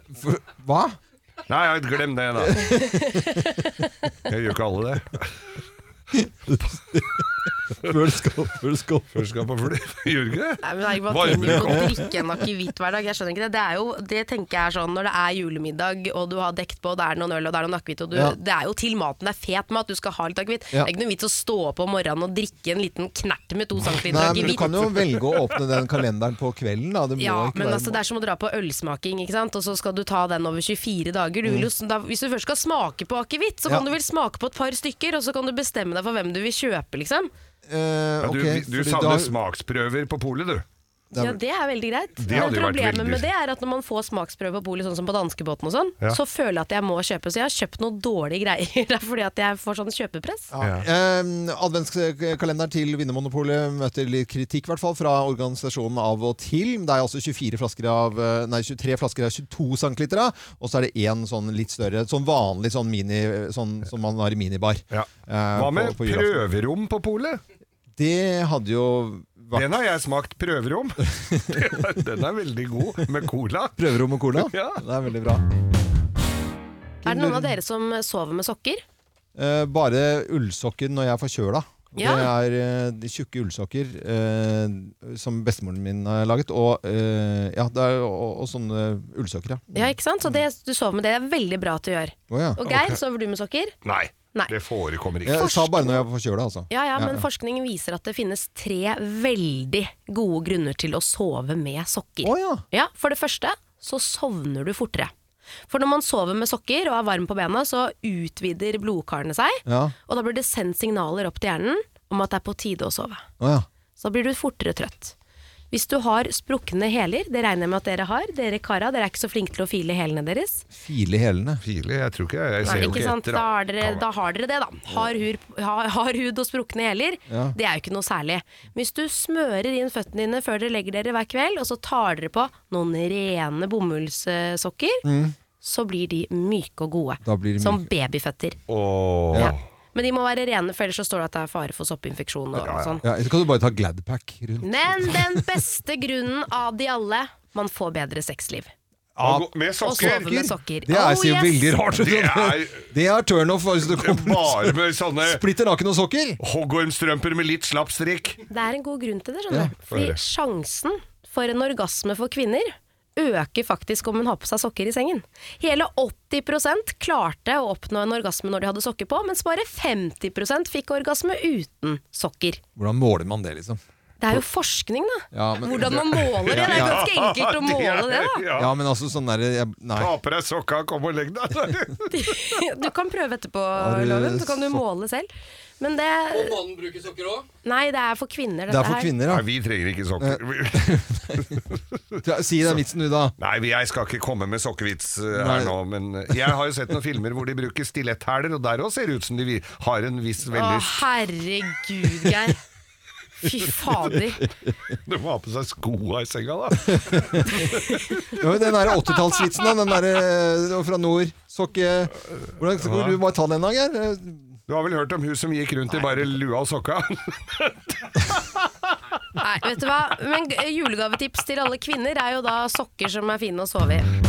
A: hva?
B: Nei, ja, glem det, da. Jeg gjør ikke alle det.
A: Før du skal, før du skal.
B: Før du skal på fly. Gjør du ikke det?
C: Nei, men det er ikke bare
B: Varmer
C: ting å
B: opp.
C: drikke en akevitt hver dag. Jeg skjønner ikke det. Det, er jo, det tenker jeg er sånn når det er julemiddag, og du har dekt på, det er noen øl og det er noen akevitt, og du,
L: Ja.
C: det er jo til maten, det er fet mat, du skal ha litt akevitt.
A: Ja.
C: Det er ikke noe vits å stå opp om morgenen og drikke en liten knert med to centiliter
A: Nei, men
C: akevitt.
A: du kan jo velge å åpne den kalenderen på kvelden, da. Det må
C: Ja,
A: ikke
C: men
A: være
C: altså, det er som å dra på ølsmaking, ikke sant? og så skal du ta den over 24 dager. Du vil jo, da, hvis du først skal smake på akevitt, så
A: Mm. Ja.
C: kan du vel smake på et par stykker, og så kan du bestemme deg for hvem du vil kjøpe, liksom.
B: Ja, du
A: Eh, ok,
B: du
A: fordi
B: savner
A: da-
B: smaksprøver på polet, du.
C: Ja, det er veldig greit.
B: Det
C: Men
B: hadde jo vært
C: problemet
B: veldig-
C: med det er at når man får smaksprøve på bolig, sånn som på danskebåten og sånn,
B: Ja.
C: så føler jeg at jeg må kjøpe. Så jeg har kjøpt noen dårlige greier. Det er fordi at jeg får sånn kjøpepress.
A: Ja. Ehm, adventskalenderen til Vinnermonopolet møter litt kritikk, i hvert fall, fra organisasjonen av og til. Det er altså 24 flasker av, eh, nei, 23 flasker av 22 centiliter, og så er det én sånn litt større, sånn vanlig sånn mini, sånn som man har i minibar. eh,
B: Hva med
A: på- på julaften.
B: prøverom på polet?
A: Det hadde jo vært
B: Den har jeg smakt prøverom. Den er- Den er veldig god, med cola.
A: Prøverom og cola?
B: Ja.
A: Det er veldig bra.
C: Er det noen av dere som sover med sokker?
A: Eh, bare ullsokker når jeg er forkjøla.
C: Ja.
A: Det er eh, de tjukke ullsokker eh, som bestemoren min har laget. Og, eh, ja, det er, og, og sånne ullsokker, ja.
C: Ja, ikke sant? Så det, du sover med det. Det er veldig bra at du gjør.
A: Å, ja.
C: Og Geir,
A: Ok.
C: sover du med sokker?
B: Nei,
C: Nei.
B: det forekommer ikke.
A: Jeg sa bare når jeg er forkjøla, altså.
C: Ja, ja, men forskning viser at det finnes tre veldig gode grunner til å sove med sokker.
A: ja.
C: For det første så sovner du fortere. For når man sover med sokker og er varm på bena, så utvider blodkarene seg.
A: Ja.
C: Og da blir det sendt signaler opp til hjernen om at det er på tide å sove.
A: Å, ja.
C: Så da blir du fortere trøtt. Hvis du har sprukne hæler, det regner jeg med at dere har, dere kara, dere er ikke så flinke til å file hælene deres.
A: File i hælene.
B: File, jeg tror ikke jeg, jeg ser
C: Nei,
B: jo
C: ikke
B: ikke
C: sant?
B: etter.
C: Da har, dere, da har dere det, da. Hard, hur, ha- hard hud og sprukne hæler,
B: Ja.
C: det er jo ikke noe særlig. Hvis du smører inn føttene dine før dere legger dere hver kveld, og så tar dere på noen rene bomullssokker,
A: Mm.
C: så blir de myke og gode.
A: Da blir de
C: som
A: myke.
C: babyføtter.
B: Åh.
A: Ja.
C: Men de må være rene, for ellers så står det at det er fare for soppinfeksjon og, og sånn.
A: Ja, så kan du bare ta Gladpack rundt.
C: Men den beste grunnen av de alle, man får bedre sexliv.
B: Ja, med
C: Og sove med sokker.
A: Det er,
C: Oh,
A: ser jo
C: yes.
A: veldig rart ut.
B: Det
A: Det,
B: er-
A: er turn off. Altså, det kommer
B: Bare med sånne
A: Splitter naken og sokker?
B: Hoggormstrømper med litt slapp strikk.
C: Det er en god grunn til det,
B: Ja,
C: skjønner du. Fordi
B: for det.
C: sjansen for en orgasme for kvinner øker faktisk om hun har på seg sokker i sengen. Hele 80 klarte å oppnå en orgasme når de hadde sokker på, mens bare 50 fikk orgasme uten sokker.
A: Hvordan måler man det, liksom?
C: Det er jo forskning, da.
A: Ja, men-
C: Hvordan man måler det. Det er jo ganske enkelt å måle det, da.
A: Ja, men altså sånn der jeg, Nei.
B: Ta på deg sokka, kom og legg deg.
C: Du kan prøve etterpå,
A: Har du
C: Loven. Så kan du
A: sok-
C: måle selv. Men det
F: Og mannen bruker sokker òg?
C: Nei, det er for kvinner, dette
A: Det er for
C: her.
A: kvinner, ja.
B: Nei, vi trenger ikke sokker.
A: Ja, Si den vitsen, du, da.
B: Nei, jeg skal ikke komme med sokkevits eh,
A: Nei.
B: her nå, men jeg har jo sett noen filmer hvor de bruker stiletthæler, og der òg ser det ut som de vi- har en viss
C: Å,
B: veldig
C: herregud, Geir. Fy fader.
B: De må ha på seg skoa i senga, da.
A: Ja, men den der 80-tallsvitsen, da, den der eh, fra nord. Sokke Hvordan skal du bare ta den, da, Geir?
B: Du har vel hørt om hun som gikk rundt i bare lua og sokka?
C: Nei, vet du hva? Men g- julegavetips til alle kvinner er jo da sokker som er fine å sove i.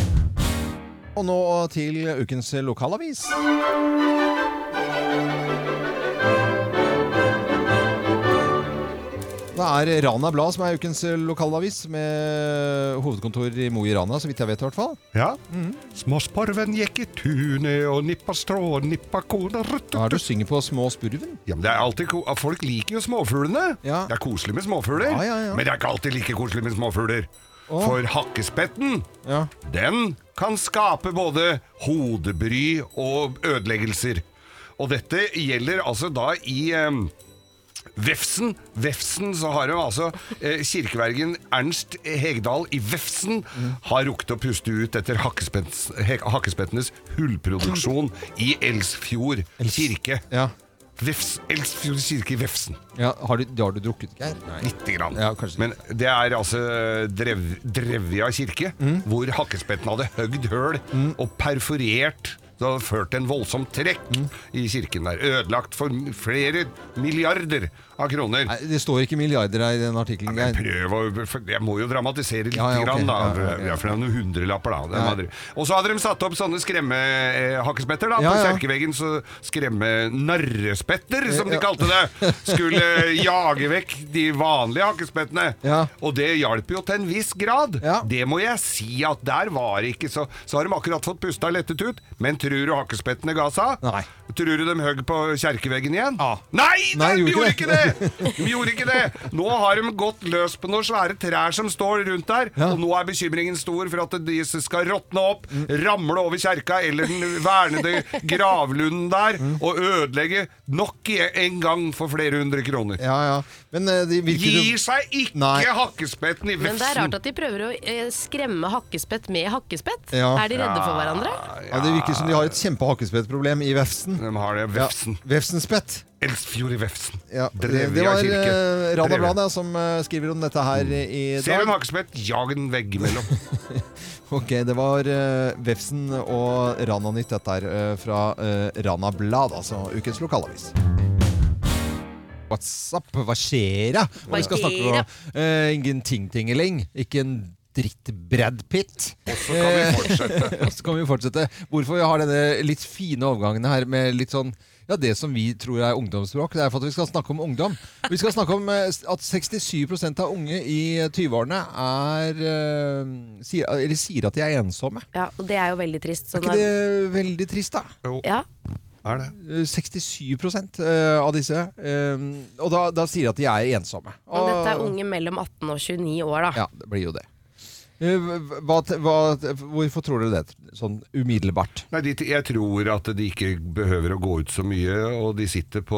A: Og nå til ukens lokalavis. Det er Rana Blad som er ukens lokalavis, med hovedkontor i Mo i Rana, så vidt jeg vet i hvert fall.
B: Ja.
A: Mm.
B: Småsporven gikk i tunet og nippa strå, nippa kona
A: Hva er det du synger på Småspurven?
B: Ja, men det er alltid ko Folk liker jo småfuglene. Det er koselig med småfugler,
A: Ja, ja, ja.
B: men det er ikke alltid like koselig med småfugler.
A: Åh.
B: For hakkespetten,
A: Ja.
B: den kan skape både hodebry og ødeleggelser. Og dette gjelder altså da i em, Vefsen, Vefsen, så har jo altså eh, kirkevergen Ernst Hegdal i Vefsen har rukket å puste ut etter hakkespettenes, he- hakkespettenes hullproduksjon i Elsfjord kirke. Vefs, Elsfjord kirke i Vefsen.
A: Ja, har du, det har du drukket, Geir?
B: Lite grann. Men det er altså drev, Drevja kirke, hvor hakkespetten hadde høgd høl og perforert Det hadde ført til en voldsom trekk i kirken der. Ødelagt for flere milliarder av kroner.
A: Nei, det står ikke milliarder her i den artikkelen.
B: Jeg
A: Geir.
B: prøver å Jeg må jo dramatisere litt,
A: Ja, ja, ok.
B: grann, da.
A: Ja, ja, ja.
B: Vi er for noen hundrelapper, da. Den
A: Ja.
B: hadde- Og så hadde de satt opp sånne skremmehakkespetter, da.
A: Ja,
B: På
A: ja.
B: kjerkeveggen. Så skremmenarrespetter, som de
A: Ja.
B: kalte det. Skulle jage vekk de vanlige hakkespettene. Og det hjalp jo til en viss grad. Det må jeg si at der var det ikke så Så har de akkurat fått pusta lettet ut. Men tror du hakkespettene ga seg? Nei. Tror du de høgg på kjerkeveggen igjen? Nei,
A: Nei,
B: de
A: gjorde
B: gjorde
A: ikke
B: ikke det! De gjorde ikke det! Nå har de gått løs på noen svære trær som står rundt der, og nå er bekymringen stor for at de skal råtne opp, ramle over kjerka eller den vernede gravlunden der, og ødelegge nok i- en gang for flere hundre kroner.
A: Ja, ja. Men eh, de virker jo-
B: Gir seg ikke
A: Nei.
B: hakkespetten i
C: Men det er
B: vefsen!
C: rart at de prøver å eh, skremme hakkespett med hakkespett.
A: Ja.
C: Er de redde for hverandre?
A: Ja, det virker som de har et kjempehakkespettproblem i Vefsen.
B: De har det, Vefsen.
A: Ja, Vefsenspett.
B: Elsfjord i vefsen.
A: Ja, det,
B: Drevet
A: det
B: av
A: var
B: kirke.
A: eh,
B: Drevet. Mm.
A: Radabladet som eh, skriver om dette her i
B: Ser du en
A: dag.
B: hakkespett, jag den veggimellom.
A: Ok, det var eh, Vefsen og Rana Nytt, dette her, eh, fra eh, Rana Blad, altså ukens lokalavis. What's up? Hva skjer da? Hva vi skal snakke om? Eh, ingen ting-tingeling, ikke en dritt Brad Pitt. Og
B: så kan vi fortsette.
A: Og så kan vi fortsette. Hvorfor vi har denne litt fine overgangen her med litt sånn ja, Det som vi tror er ungdomsspråk. Det er for at vi skal snakke om ungdom. Vi skal snakke om eh, at 67 av unge i 20-årene er eh, sier, Eller sier at de er ensomme.
C: Ja, og det er jo veldig trist. så
A: Er ikke
C: når-
A: det veldig trist, da?
C: Ja.
B: Er det?
A: Eh, 67 eh, av disse. eh, Og da, da sier de at de er ensomme.
C: Og dette er unge mellom 18 og 29 år, da.
A: Ja, det blir jo det. Eh, Hva, hva, hvorfor tror dere det? Sånn umiddelbart.
B: Nei, de, jeg tror at de ikke behøver å gå ut så mye, og de sitter på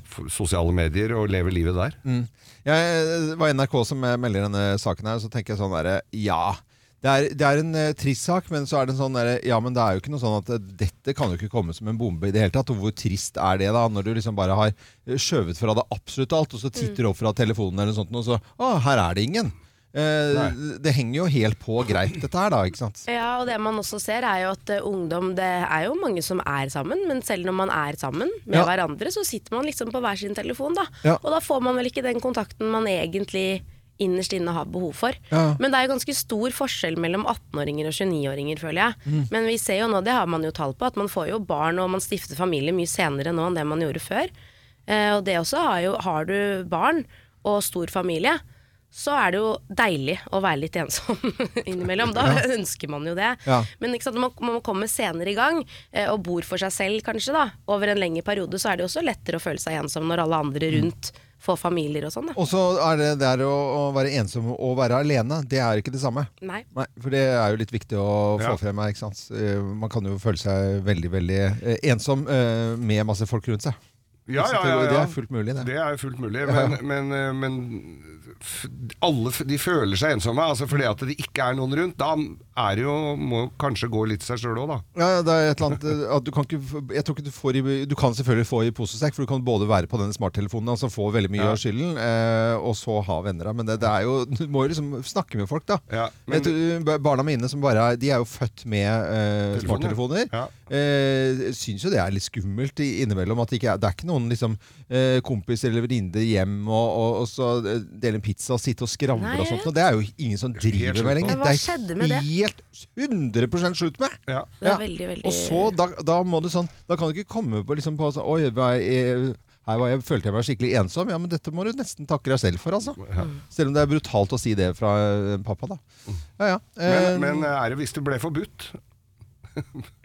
B: f- sosiale medier og lever livet der.
A: Mm. Jeg, det var NRK som eh, melder denne saken her, så tenker jeg sånn derre Ja. Det er, det er en eh, trist sak, men så er det en sånn derre Ja, men det er jo ikke noe sånn at eh, dette kan jo ikke komme som en bombe i det hele tatt. Og hvor trist er det, da? Når du liksom bare har eh, skjøvet fra deg absolutt alt, og så titter du opp fra telefonen eller noe sånt, og så Å, her er det ingen. Eh, det henger jo helt på greit, dette her, da. Ikke sant?
C: Ja, og det man også ser er jo at eh, ungdom, det er jo mange som er sammen, men selv når man er sammen med
A: Ja.
C: hverandre, så sitter man liksom på hver sin telefon da.
A: Ja.
C: Og da får man vel ikke den kontakten man egentlig innerst inne har behov for.
L: Ja.
C: Men det er jo ganske stor forskjell mellom 18-åringer og 29-åringer, føler jeg.
L: Mm.
C: Men vi ser jo nå, det har man jo tall på, at man får jo barn og man stifter familie mye senere nå enn det man gjorde før. Eh, og det også har jo, har du barn og stor familie, så er det jo deilig å være litt ensom innimellom. Da
L: Ja.
C: ønsker man jo det.
L: Ja.
C: Men ikke sant, når man, man kommer senere i gang eh, og bor for seg selv kanskje da, over en lengre periode, så er det jo også lettere å føle seg ensom når alle
L: Mm.
C: andre rundt får familier og sånn. da.
A: Og så er det der å, å være ensom og være alene, det er ikke det samme.
C: Nei.
A: for det er jo litt viktig å få
B: Ja.
A: frem her, ikke sant. Eh, Man kan jo føle seg veldig, veldig eh, ensom eh, med masse folk rundt seg.
B: Ja,
A: Ikke
B: ja,
A: sant?
B: ja, ja.
A: Det er fullt mulig, det.
B: Det er jo fullt mulig,
A: Ja, ja.
B: men, men, eh, men f- alle f- de føler seg ensomme. Altså fordi at det ikke er noen rundt. Da er det jo, må jo kanskje gå litt seg sjøl òg, da.
A: Ja, ja, det er et eller annet eh, at du kan ikke, f- Jeg tror ikke du får i Du kan selvfølgelig få i posesekk, for du kan både være på denne smarttelefonen, altså få veldig mye
B: Ja.
A: av skylden, eh, og så ha venner. da. Men det, det er jo, du må jo liksom snakke med folk, da.
B: men-
A: Vet du, ba- barna mine som bare er, de er jo født med eh, smarttelefoner. Eh, Syns jo det er litt skummelt i- innimellom. At det, ikke er, det er ikke noen liksom, eh, kompis eller venninne hjem og, og, og så eh, dele en pizza og sitte og skravle
C: Nei,
A: og sånt. Og det er jo ingen som driver med lenger.
C: Hva skjedde med det?
A: Helt 100 slutt med!
C: Det er veldig, veldig-
A: Og så, da, da må du sånn Da kan du ikke komme på, liksom, på sånn, Oi, hva er- eh, her var jeg, følte jeg meg skikkelig ensom. Ja, men dette må du nesten takke deg selv for, altså. Selv om det er brutalt å si det fra eh, pappa, da. Ja, ja. Eh,
B: Mm. Men, men er det hvis det ble forbudt?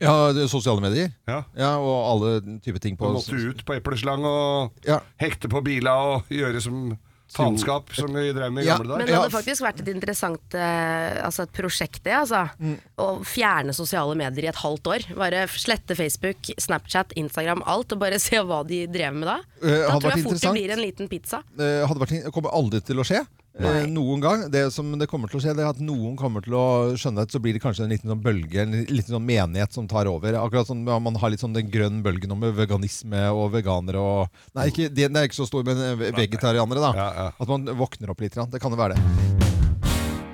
A: Ja, det er sosiale medier.
B: Ja.
A: og alle typer ting
B: Du
A: på
B: måtte ut på epleslang og
A: Ja.
B: hekte på bila og gjøre som faenskap, som vi drev med i
A: Ja,
B: gamle dager.
C: Men det hadde faktisk vært et interessant eh, altså et prosjekt, det. Altså.
A: Mm.
C: Å fjerne sosiale medier i et halvt år. Bare slette Facebook, Snapchat, Instagram, alt, og bare se hva de drev med da.
A: Eh,
C: da
A: hadde
C: tror
A: vært
C: jeg fort det
A: interessant.
C: blir en liten pizza.
A: Eh, hadde vært, kommer aldri til å skje. Eh, noen gang. Det som det kommer til å skje, det er at noen kommer til å skjønne at så blir det kanskje en liten sånn bølge, en liten sånn menighet som tar over. Akkurat som sånn, man har litt sånn den grønne bølgen om veganisme og veganere og Nei, ikke, den er ikke så stor, men eh, vegetarianere, da. At man våkner opp litt. grann. Det kan jo være det.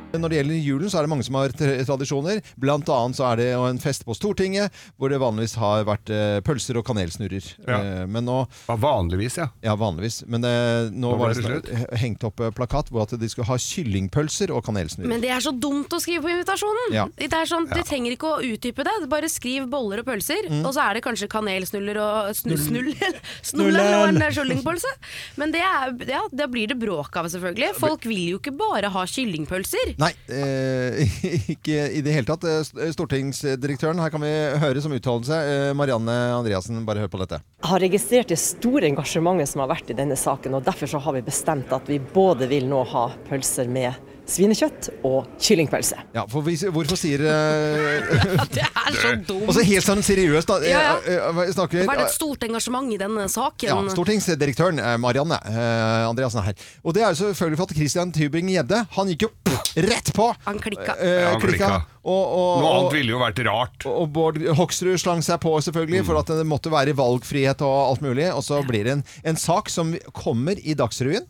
A: Når det gjelder julen, så er det mange som har tra- tradisjoner. Blant annet så er det jo en fest på Stortinget, hvor det vanligvis har vært eh, pølser og kanelsnurrer. Eh, Men nå,
B: vanligvis, ja.
A: Ja, vanligvis. Men eh, nå
B: Nå ble
A: var det
B: det
A: sånn- he- hengt opp eh, plakat hvor at de skulle ha kyllingpølser og kanelsnurrer.
C: Men det er så dumt å skrive på invitasjonen!
A: Ja.
C: Det er sånn,
A: Ja.
C: Du trenger ikke å utdype det, bare skriv boller og pølser,
A: Mm.
C: og så er det kanskje kanelsnuller og snu,
A: Snull.
C: snull, snuller og en
A: Snullel.
C: kyllingpølse. Men det, er, ja, det blir det bråk av, selvfølgelig. Folk vil jo ikke bare ha kyllingpølser.
A: Nei, eh, ikke i det hele tatt. Eh, st- Stortingsdirektøren, her kan vi høre som uttalelse. Eh, Marianne Andreassen, bare hør på dette.
L: Jeg har registrert det store engasjementet som har vært i denne saken, og derfor så har vi bestemt at vi både vil nå ha pølser med svinekjøtt og kyllingpølse.
A: Ja, for vi, hvorfor sier eh,
C: Det er så dumt!
A: Altså helt sånn seriøst, da. eh,
C: Ja,
A: eh, eh, Snakker,
C: Det har vært et stort engasjement i denne saken.
A: ja, Stortingsdirektøren eh, Marianne eh, Andreassen er her. Og det er jo selvfølgelig for at Christian Tybring-Gjedde Han gikk jo rett på!
C: Han klikka.
A: Eh,
B: Ja, han
A: klikka.
B: klikka.
A: Og, og,
B: Noe annet
A: og,
B: ville jo vært rart.
A: og Bård Hoksrud slang seg på, selvfølgelig, for at det måtte være valgfrihet og alt mulig. Og så blir det en, en sak som kommer i Dagsrevyen.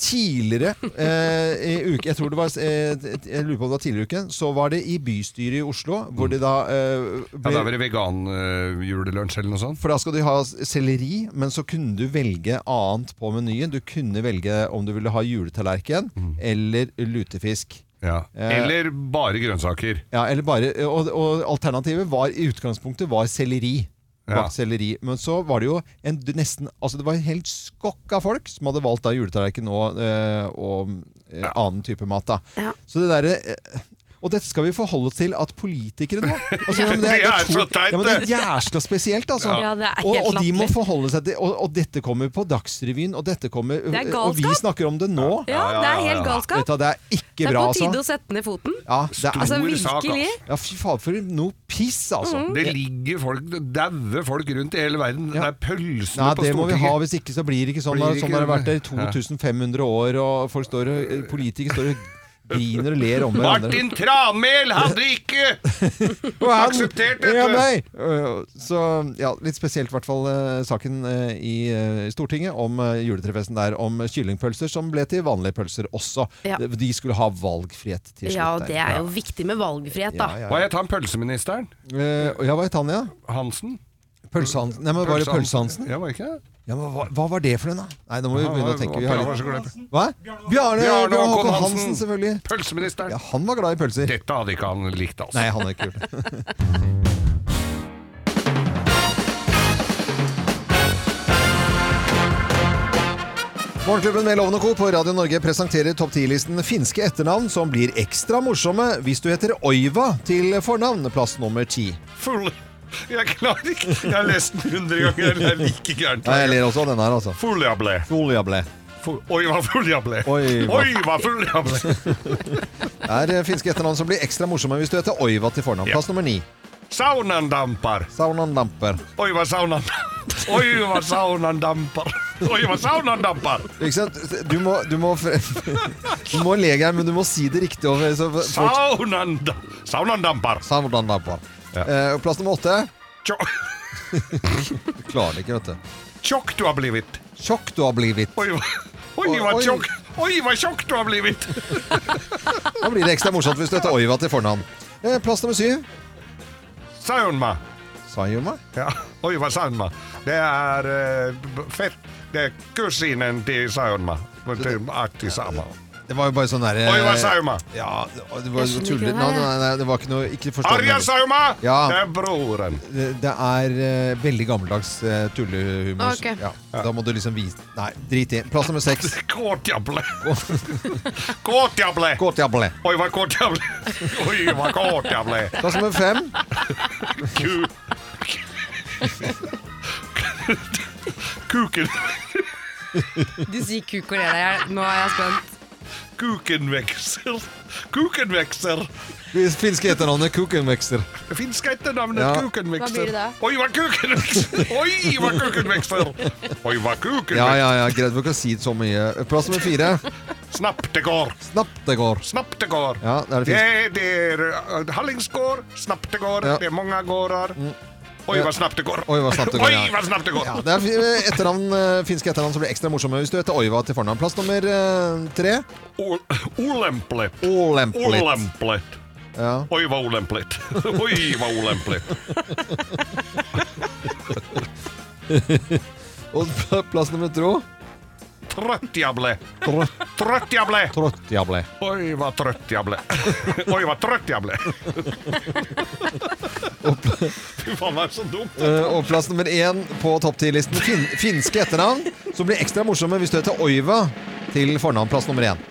A: Tidligere eh, i uke Jeg tror det var eh, Jeg lurer på om det var tidligere i uken. Så var det i bystyret i Oslo, hvor det da eh,
B: Ja,
A: ble
B: da var det veganjulelunsj eller noe sånt.
A: for da skal de ha selleri, men så kunne du velge annet på menyen. Du kunne velge om du ville ha juletallerken
B: Mm.
A: eller lutefisk. Eh,
B: Eller bare grønnsaker.
A: ja, eller bare, og, og alternativet var i utgangspunktet var selleri.
B: Ja.
A: Bakt selleri. Men så var det jo en, du nesten Altså det var en helt skokk av folk som hadde valgt da juletallerken og, eh, og eh, annen type mat. da Så det derre eh, og dette skal vi forholde oss til at politikere nå altså, ja, men
B: Det er
A: to-
B: så teit,
A: ja, men Det er
B: det.
A: jævla spesielt, altså.
B: Ja, det er
A: og,
B: helt
A: og de må
B: latterlig.
A: forholde seg til og, og dette kommer på Dagsrevyen, og dette kommer
C: Det er
A: Og vi
C: galskap. snakker
A: snakker om det nå.
C: Ja, det er helt galskap.
A: Dette, det er ikke
C: Det er
A: bra,
C: på
A: altså.
C: tide å sette ned foten.
A: Ja, det er
C: Altså, Stor sak, virkelig. altså.
A: Ja, fy faen, for noe piss, altså.
C: Mhm.
B: Det ligger folk, daue folk rundt i hele verden. Det er pølsene
A: Nei,
B: på
A: det må vi
B: Stortinget.
A: ha, hvis ikke så blir det ikke sånn.
B: Blir
A: da.
B: det
A: sånn
B: ikke-
A: har det vært der i
B: Ja.
A: 2500 år, og folk står og, eh, politikere står og griner og ler om hverandre.
B: Martin Tranmæl hadde ikke akseptert dette!
A: Ja, nei. Øh, Så ja, litt spesielt i hvert fall eh, saken eh, i eh, Stortinget om eh, juletrefesten der om kyllingpølser, som ble til vanlige pølser også.
C: Ja.
A: De- De skulle ha valgfrihet til slutt.
C: Ja, og
A: der.
C: det er jo viktig med valgfrihet, da.
A: Ja, ja, ja.
B: Hva het han pølseministeren?
A: Eh, og Ja, hva het han, ja?
B: Hansen?
A: Pølsehansen. Nei, men var det Pølsehansen?
B: Ja, var det ikke det?
A: Ja, men hva, hva var det for en, da? Nei, nå må vi
B: Ja,
A: begynne å
B: hva-
A: tenke.
B: hva-
A: Vi har
B: jeg var så glad
A: litt...
B: i-
A: Hva? Bjarne, Bjarne Håkon Hansen, selvfølgelig.
B: Pølseministeren.
A: Ja, han var glad i pølser.
B: Dette hadde ikke han likt, altså.
A: Nei, han hadde ikke gjort det. Morgenklubben med Loven og Co. på Radio Norge presenterer topp 10-listen finske etternavn som blir ekstra morsomme hvis du heter Oiva til fornavn. Plass nummer ti.
B: Full. Jeg klarer ikke Jeg har lest den hundre ganger. Det er like gærent.
A: Nei, Jeg ler også av denne her, altså.
B: Fuljable.
A: Fuljable.
B: Full- Oi, hva full jeg ble!
A: Oi, hva-
B: Oi, hva full jeg ble!
A: Det er eh, finske etternavn som blir ekstra morsomme hvis du heter Oiva til fornavn. Plass nummer ni.
B: Saunandampar.
A: Saunandamper.
B: Oi, hva saunan... Oi, hva saunandampar. Oi, hva saunandampar.
A: Ikke sant? Du må, du må, du må le, Geir, men du må si det riktig. over- så folk-
B: Saunanda... Saunandampar.
A: Saunandampar. Eh, og plass nummer åtte. du klarer det ikke, vet du.
B: Tjokk du har blitt.
A: Tjokk du har blitt.
B: Oi, hva, oi, hva
A: Oi.
B: tjokk. Oi, hva tjokk du har blitt.
A: Da blir det ekstra morsomt hvis du heter Oiva til fornavn. Eh, plass nummer syv.
B: Saunma.
A: Sayuma.
B: Ja. Oi, hva saunma. Det er eh, b- fett. Det er kusinen til saunma. Til Ahti Saunma.
A: Det var jo bare sånn derre
B: Oi, hva saunma.
A: Ja, det var
B: Jeg skjønner ikke
A: tullete.
B: det
A: Nei,
B: her, jeg.
A: nei, nei, det var ikke noe Ikke forstå
B: Arja
A: det.
B: Sauma!
A: Ja.
B: Det er broren.
A: Det det er eh, veldig gammeldags eh, tullehumor.
B: Ok.
A: Ja, da må du liksom vise Nei, drit i. Plass nummer seks.
B: Kåtjable. Kåtjable.
A: Kåtjable.
B: Oi, hva kåtjable. Oi, hva kåtjable.
A: Plass nummer fem.
B: Ku... Kuken.
C: Du sier kuk og ler deg i hjel. Nå er jeg spent.
B: Kukenvekser. Kukenvekser.
A: Finske etternavnet Kukenvekster.
B: Det finske etternavnet
A: Ja.
B: kukenvekser.
C: Hva blir det da?
B: Oi, hva kukenvekser! Oi, hva kukenvekser! Oi, hva kukenvekser!
A: Ja, ja, ja, greit. Vi kan si så mye. Plass nummer fire.
B: Snaptegård.
A: Snaptegård.
B: Snaptegård.
A: Ja, det er det
B: det
A: finske.
B: er, det er uh, Hallingsgård, Snaptegård,
A: Ja. Mm.
B: det er mange gårder. Oi, hva snapt det går!
A: Oi, hva snapt det går, ja.
B: Oi, hva snapt det går.
A: Ja, det er fi- etternavn, eh, finske etternavn som blir ekstra morsomme hvis du heter Oiva til fornavn. Plass nummer eh, tre.
B: Ol- Olemplet.
A: Olemplet.
B: Olemplet.
A: Ja.
B: Oi, hva olemplet. Oi, hva olemplet.
A: Og pl- plass nummer to.
B: Trøtt jeg ble.
A: Trø-
B: Trøtt jeg ble.
A: Trøttjable.
B: Oi, hva trøtt jeg ble. Oi, hva trøtt jeg ble. Fy faen, det er så dumt.
A: Eh, og plass nummer én på topp ti-listen. Fin finske etternavn som blir ekstra morsomme hvis du heter Oiva til fornavn. Plass nummer én.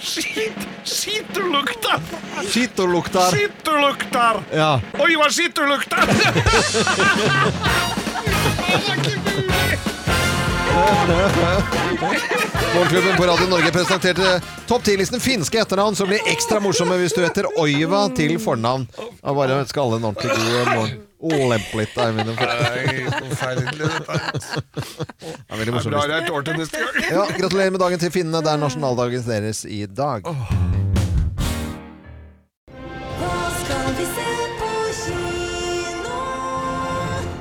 B: Shit, shit du lukter.
A: Skitt og lukter.
B: Shit du lukter.
A: Ja.
B: Oi, hva shit du lukter.
A: Morgenklubben på Radio Norge presenterte topp ti-listen finske etternavn som blir ekstra morsomme hvis du heter Oiva til fornavn. Jeg bare ønsker alle en ordentlig god morgen. Olemplet er mine
B: Nei, forferdelig dette.
A: er veldig morsomt.
B: Det er bra det er et år til neste gang.
A: Ja, gratulerer med dagen til finnene. Det er nasjonaldagen deres i dag.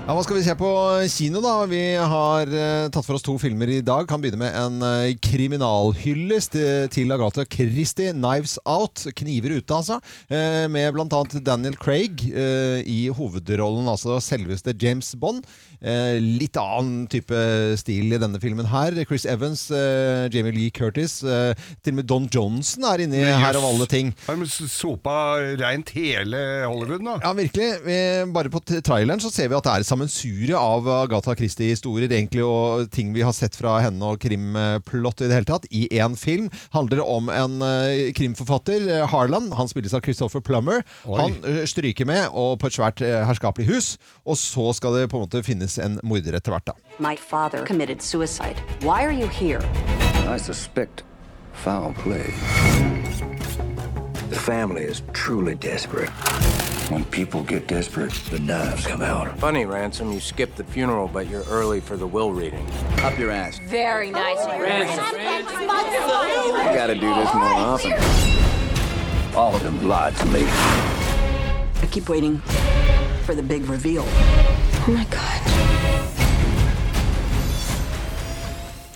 A: Ja, Hva skal vi se på kino, da? Vi har eh, tatt for oss to filmer i dag. Kan begynne med en eh, kriminalhyllest eh, til Agatha Christie, 'Knives Out'. Kniver ute, altså. Eh, med bl.a. Daniel Craig eh, i hovedrollen, altså selveste James Bond. Eh, litt annen type stil i denne filmen her. Chris Evans, eh, Jamie Lee Curtis, eh, til og med Don Johnson er inni her, av alle ting.
B: Har de sopa rent hele Hollywood nå?
A: Ja, virkelig. Vi, bare på t- traileren så ser vi at det er et sammensurie av Agatha Christie-historier egentlig, og ting vi har sett fra henne og krimplott i det hele tatt, i én film. Handler det om en eh, krimforfatter, eh, Harlan. Han spilles av Christopher Plummer.
B: Oi.
A: Han eh, stryker med og på et svært eh, herskapelig hus, og så skal det på en måte finnes en morder etter hvert. da.
M: My father committed suicide. Why are you here?
N: I suspect foul play. The family is truly desperate. When people get desperate, the knives come out.
O: Funny, Ransom, you skipped the funeral, but you're early for the will reading.
N: Up your ass.
M: Very nice.
N: We gotta do this more often. All of them lied to me.
M: I keep waiting for the big reveal. Oh my god.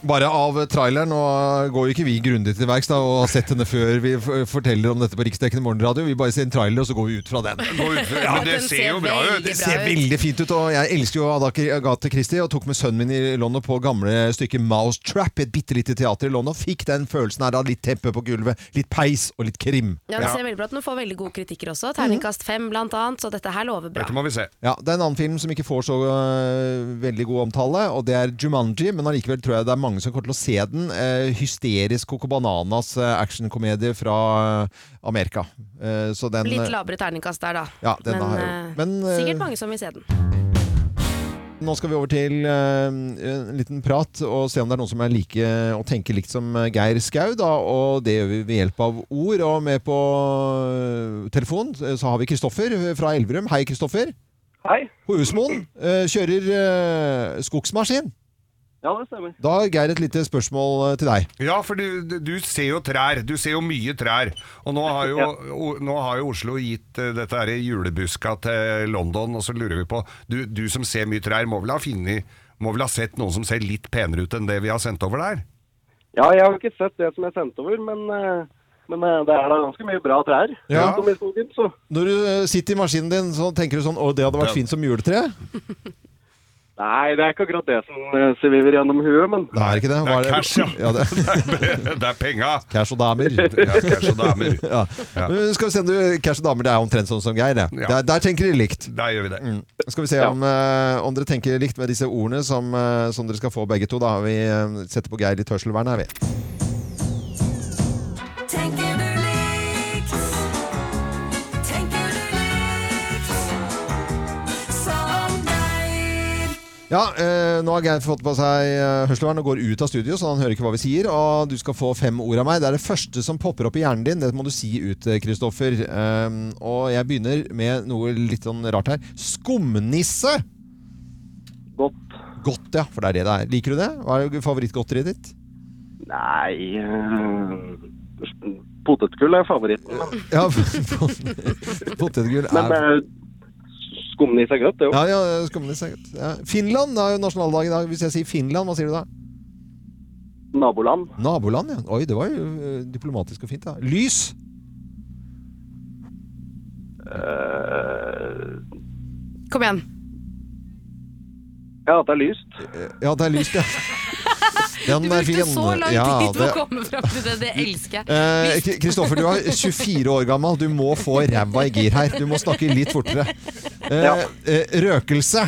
A: Bare av traileren, og går jo ikke vi grundig til verks da, og har sett henne før vi f- forteller om dette på Riksdekkende morgenradio. Vi bare ser en trailer, og så går vi ut fra den.
B: Går ut fra- Ja, det
A: den
B: ser jo bra ut.
A: Det ser veldig fint ut, og jeg elsker jo Adak- Agatha Christie, og tok med sønnen min i London på gamle stykket Mousetrap, et bitte lite teater i London, og fikk den følelsen her av litt teppe på gulvet, litt peis og litt krim.
C: Ja, det ser veldig bra ut. Den får veldig gode kritikker også. Terningkast fem, blant annet. Så dette her lover bra.
B: Dette må vi se.
A: Ja, Det er en annen film som ikke får så øh, veldig god omtale, og det er Jumanji. Men allikevel tror jeg det er mange som kommer til å se den. Eh, hysterisk Coco Bananas eh, actionkomedie fra øh, Amerika. Eh, så den
C: Litt lavere terningkast der, da.
A: Ja, den
C: men
A: har jeg
C: eh,
A: jo. Men, eh,
C: sikkert mange som vil se den.
A: Nå skal vi over til eh, en liten prat og se om det er noen som er like og tenker likt som eh, Geir Skau. Da, og det gjør vi ved hjelp av ord. Og med på eh, telefon så har vi Kristoffer fra Elverum. Hei, Kristoffer.
P: Hei.
A: Husmoen eh, kjører eh, skogsmaskin.
P: Ja, det stemmer.
A: Da har Geir et lite spørsmål eh, til deg.
B: Ja, for du, du ser jo trær. Du ser jo mye trær. Og nå har jo, o, nå har jo Oslo gitt eh, dette her i julebuska til London, og så lurer vi på Du, du som ser mye trær, må vel, ha funnet- må vel ha sett noen som ser litt penere ut enn det vi har sendt over der?
P: Ja, jeg har ikke sett det som jeg sendte over, men, eh, men eh, det er da ganske mye bra trær.
A: Ja.
P: rundt om i skogen, så.
A: Når du eh, sitter i maskinen din, så tenker du sånn Å, det hadde vært fint som juletre.
P: Nei, det er ikke akkurat det som eh, sviver gjennom huet, men
A: Det er ikke det. Hva
B: Det er cash, ja.
A: ja det.
B: Det er penga!
A: Cash og damer.
B: Ja, cash og damer.
A: Ja.
B: Ja.
A: Men Skal vi se om du Cash og damer, det er omtrent sånn som Geir. det. Der, der tenker de likt.
B: Der gjør vi det.
A: Skal vi se om, eh, om dere tenker likt med disse ordene som, eh, som dere skal få begge to. Da har vi eh, setter på Geir litt hørselvern her, vi.
Q: Tenker du likt? Tenker du likt som deg?
A: Ja, eh, nå har Geir fått på seg eh, hørselvern og går ut av studio, så han hører ikke hva vi sier. Og du skal få fem ord av meg. Det er det første som popper opp i hjernen din. Det må du si ut, eh, Kristoffer. Eh, og jeg begynner med noe litt sånn rart her. Skumnisse!
P: Godt.
A: Godt, ja. For det er det det er. Liker du det? Hva er favorittgodteriet ditt?
P: Nei eh, Potetgull er favoritten. men-
A: Ja, potetgull
P: Men
A: er
P: eh, skumnis er godt, det jo.
A: ja, ja, skumnis er godt. Ja. Finland det er jo nasjonaldag i dag. Hvis jeg sier Finland, hva sier du da?
P: Naboland.
A: Naboland, ja. Oi, det var jo eh, diplomatisk og fint, da. Lys!
C: Kom igjen.
P: Ja, at det er lyst.
A: Ja, det er lyst, ja. Den
C: du
A: er
C: brukte
A: fin.
C: så lang tid
A: Ja,
C: på å
A: det-
C: komme fram til det. Det elsker jeg.
A: Eh, Kri- Kristoffer, du er 24 år gammel. Du må få ræva i gir her. Du må snakke litt fortere. Eh,
P: Ja.
A: eh, røkelse.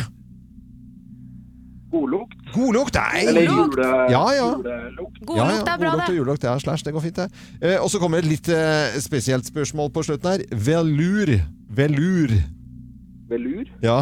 P: Godlukt.
A: Godlukt, nei!
P: Eller eh, jule,
A: Ja, ja.
P: julelukt.
C: Godlukt er bra,
A: godlukt og
C: det.
A: julelukt, ja, slash, det går fint, det. Eh, og så kommer et litt eh, spesielt spørsmål på slutten her. Velur. Velur.
P: Velur?
A: Ja.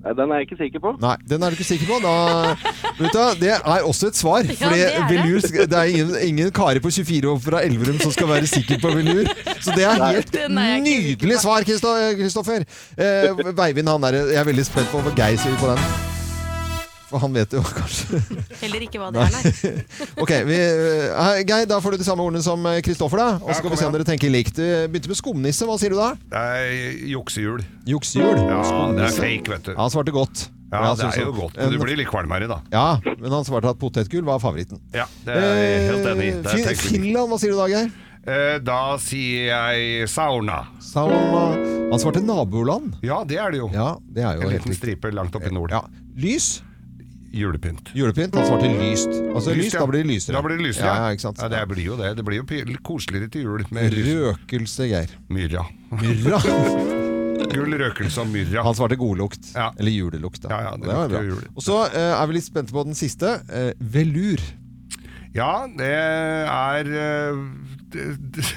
P: Nei, den er jeg ikke sikker på.
A: Nei, den er du ikke sikker på. Da, vet du, det er også et svar.
P: Ja,
A: For
P: det er det.
A: velur, sk- det er ingen, ingen kare på 24 år fra Elverum som skal være sikker på velur. Så det er
P: Nei.
A: helt
P: Den er jeg ikke sikker
A: nydelig svar, Kristo- Kristoffer. Eh, Veivind, han er, jeg er veldig spent på hva Geir sier på den. For han vet jo kanskje
C: Heller ikke hva det er, nei.
A: Ok, vi, eh, Geir, da får du de samme ordene som Kristoffer, da. Og så skal vi se om dere tenker likt. Vi begynte med skumnisse. Hva sier du da?
B: Det er juksehjul.
A: Juksehjul.
B: Ja, det er
A: Skumnisse.
B: fake, vet du.
A: Ja, altså, han svarte godt.
B: Ja,
A: Jeg
B: det
A: synes
B: er jo
A: han-
B: godt, men du
A: en-
B: blir litt kvalmere da.
A: Ja, men han svarte at potetgull var favoritten.
B: Ja, det er jeg helt enig i.
A: Eh,
B: Det
A: Fin-
B: tenker vi.
A: Finland, hva sier du da, Geir?
B: Eh, Da sier jeg sauna.
A: Sauna. eh, Han svarte naboland.
B: Ja, det er det jo.
A: Ja, det er jo
B: En
A: helt
B: liten
A: riktig.
B: stripe langt opp i nord.
A: Lys?
B: Julepynt.
A: Julepynt? Han svarte lyst. Altså lyst, da blir det lysere.
B: Da blir det lysere,
A: Ja, ja, ikke sant?
B: Ja, det blir jo det. Det blir jo py- koseligere til jul med lys.
A: Røkelse, Geir.
B: Myrra.
A: Myrra?
B: Gull, røkelse og myrra.
A: Han svarte godlukt.
B: Ja.
A: Eller julelukt, da.
B: Ja, ja, det
A: var
B: lukter
A: bra.
B: jo jul.
A: Og så eh, er vi litt spente på den siste. Eh, velur.
B: Ja, det er eh, det- det-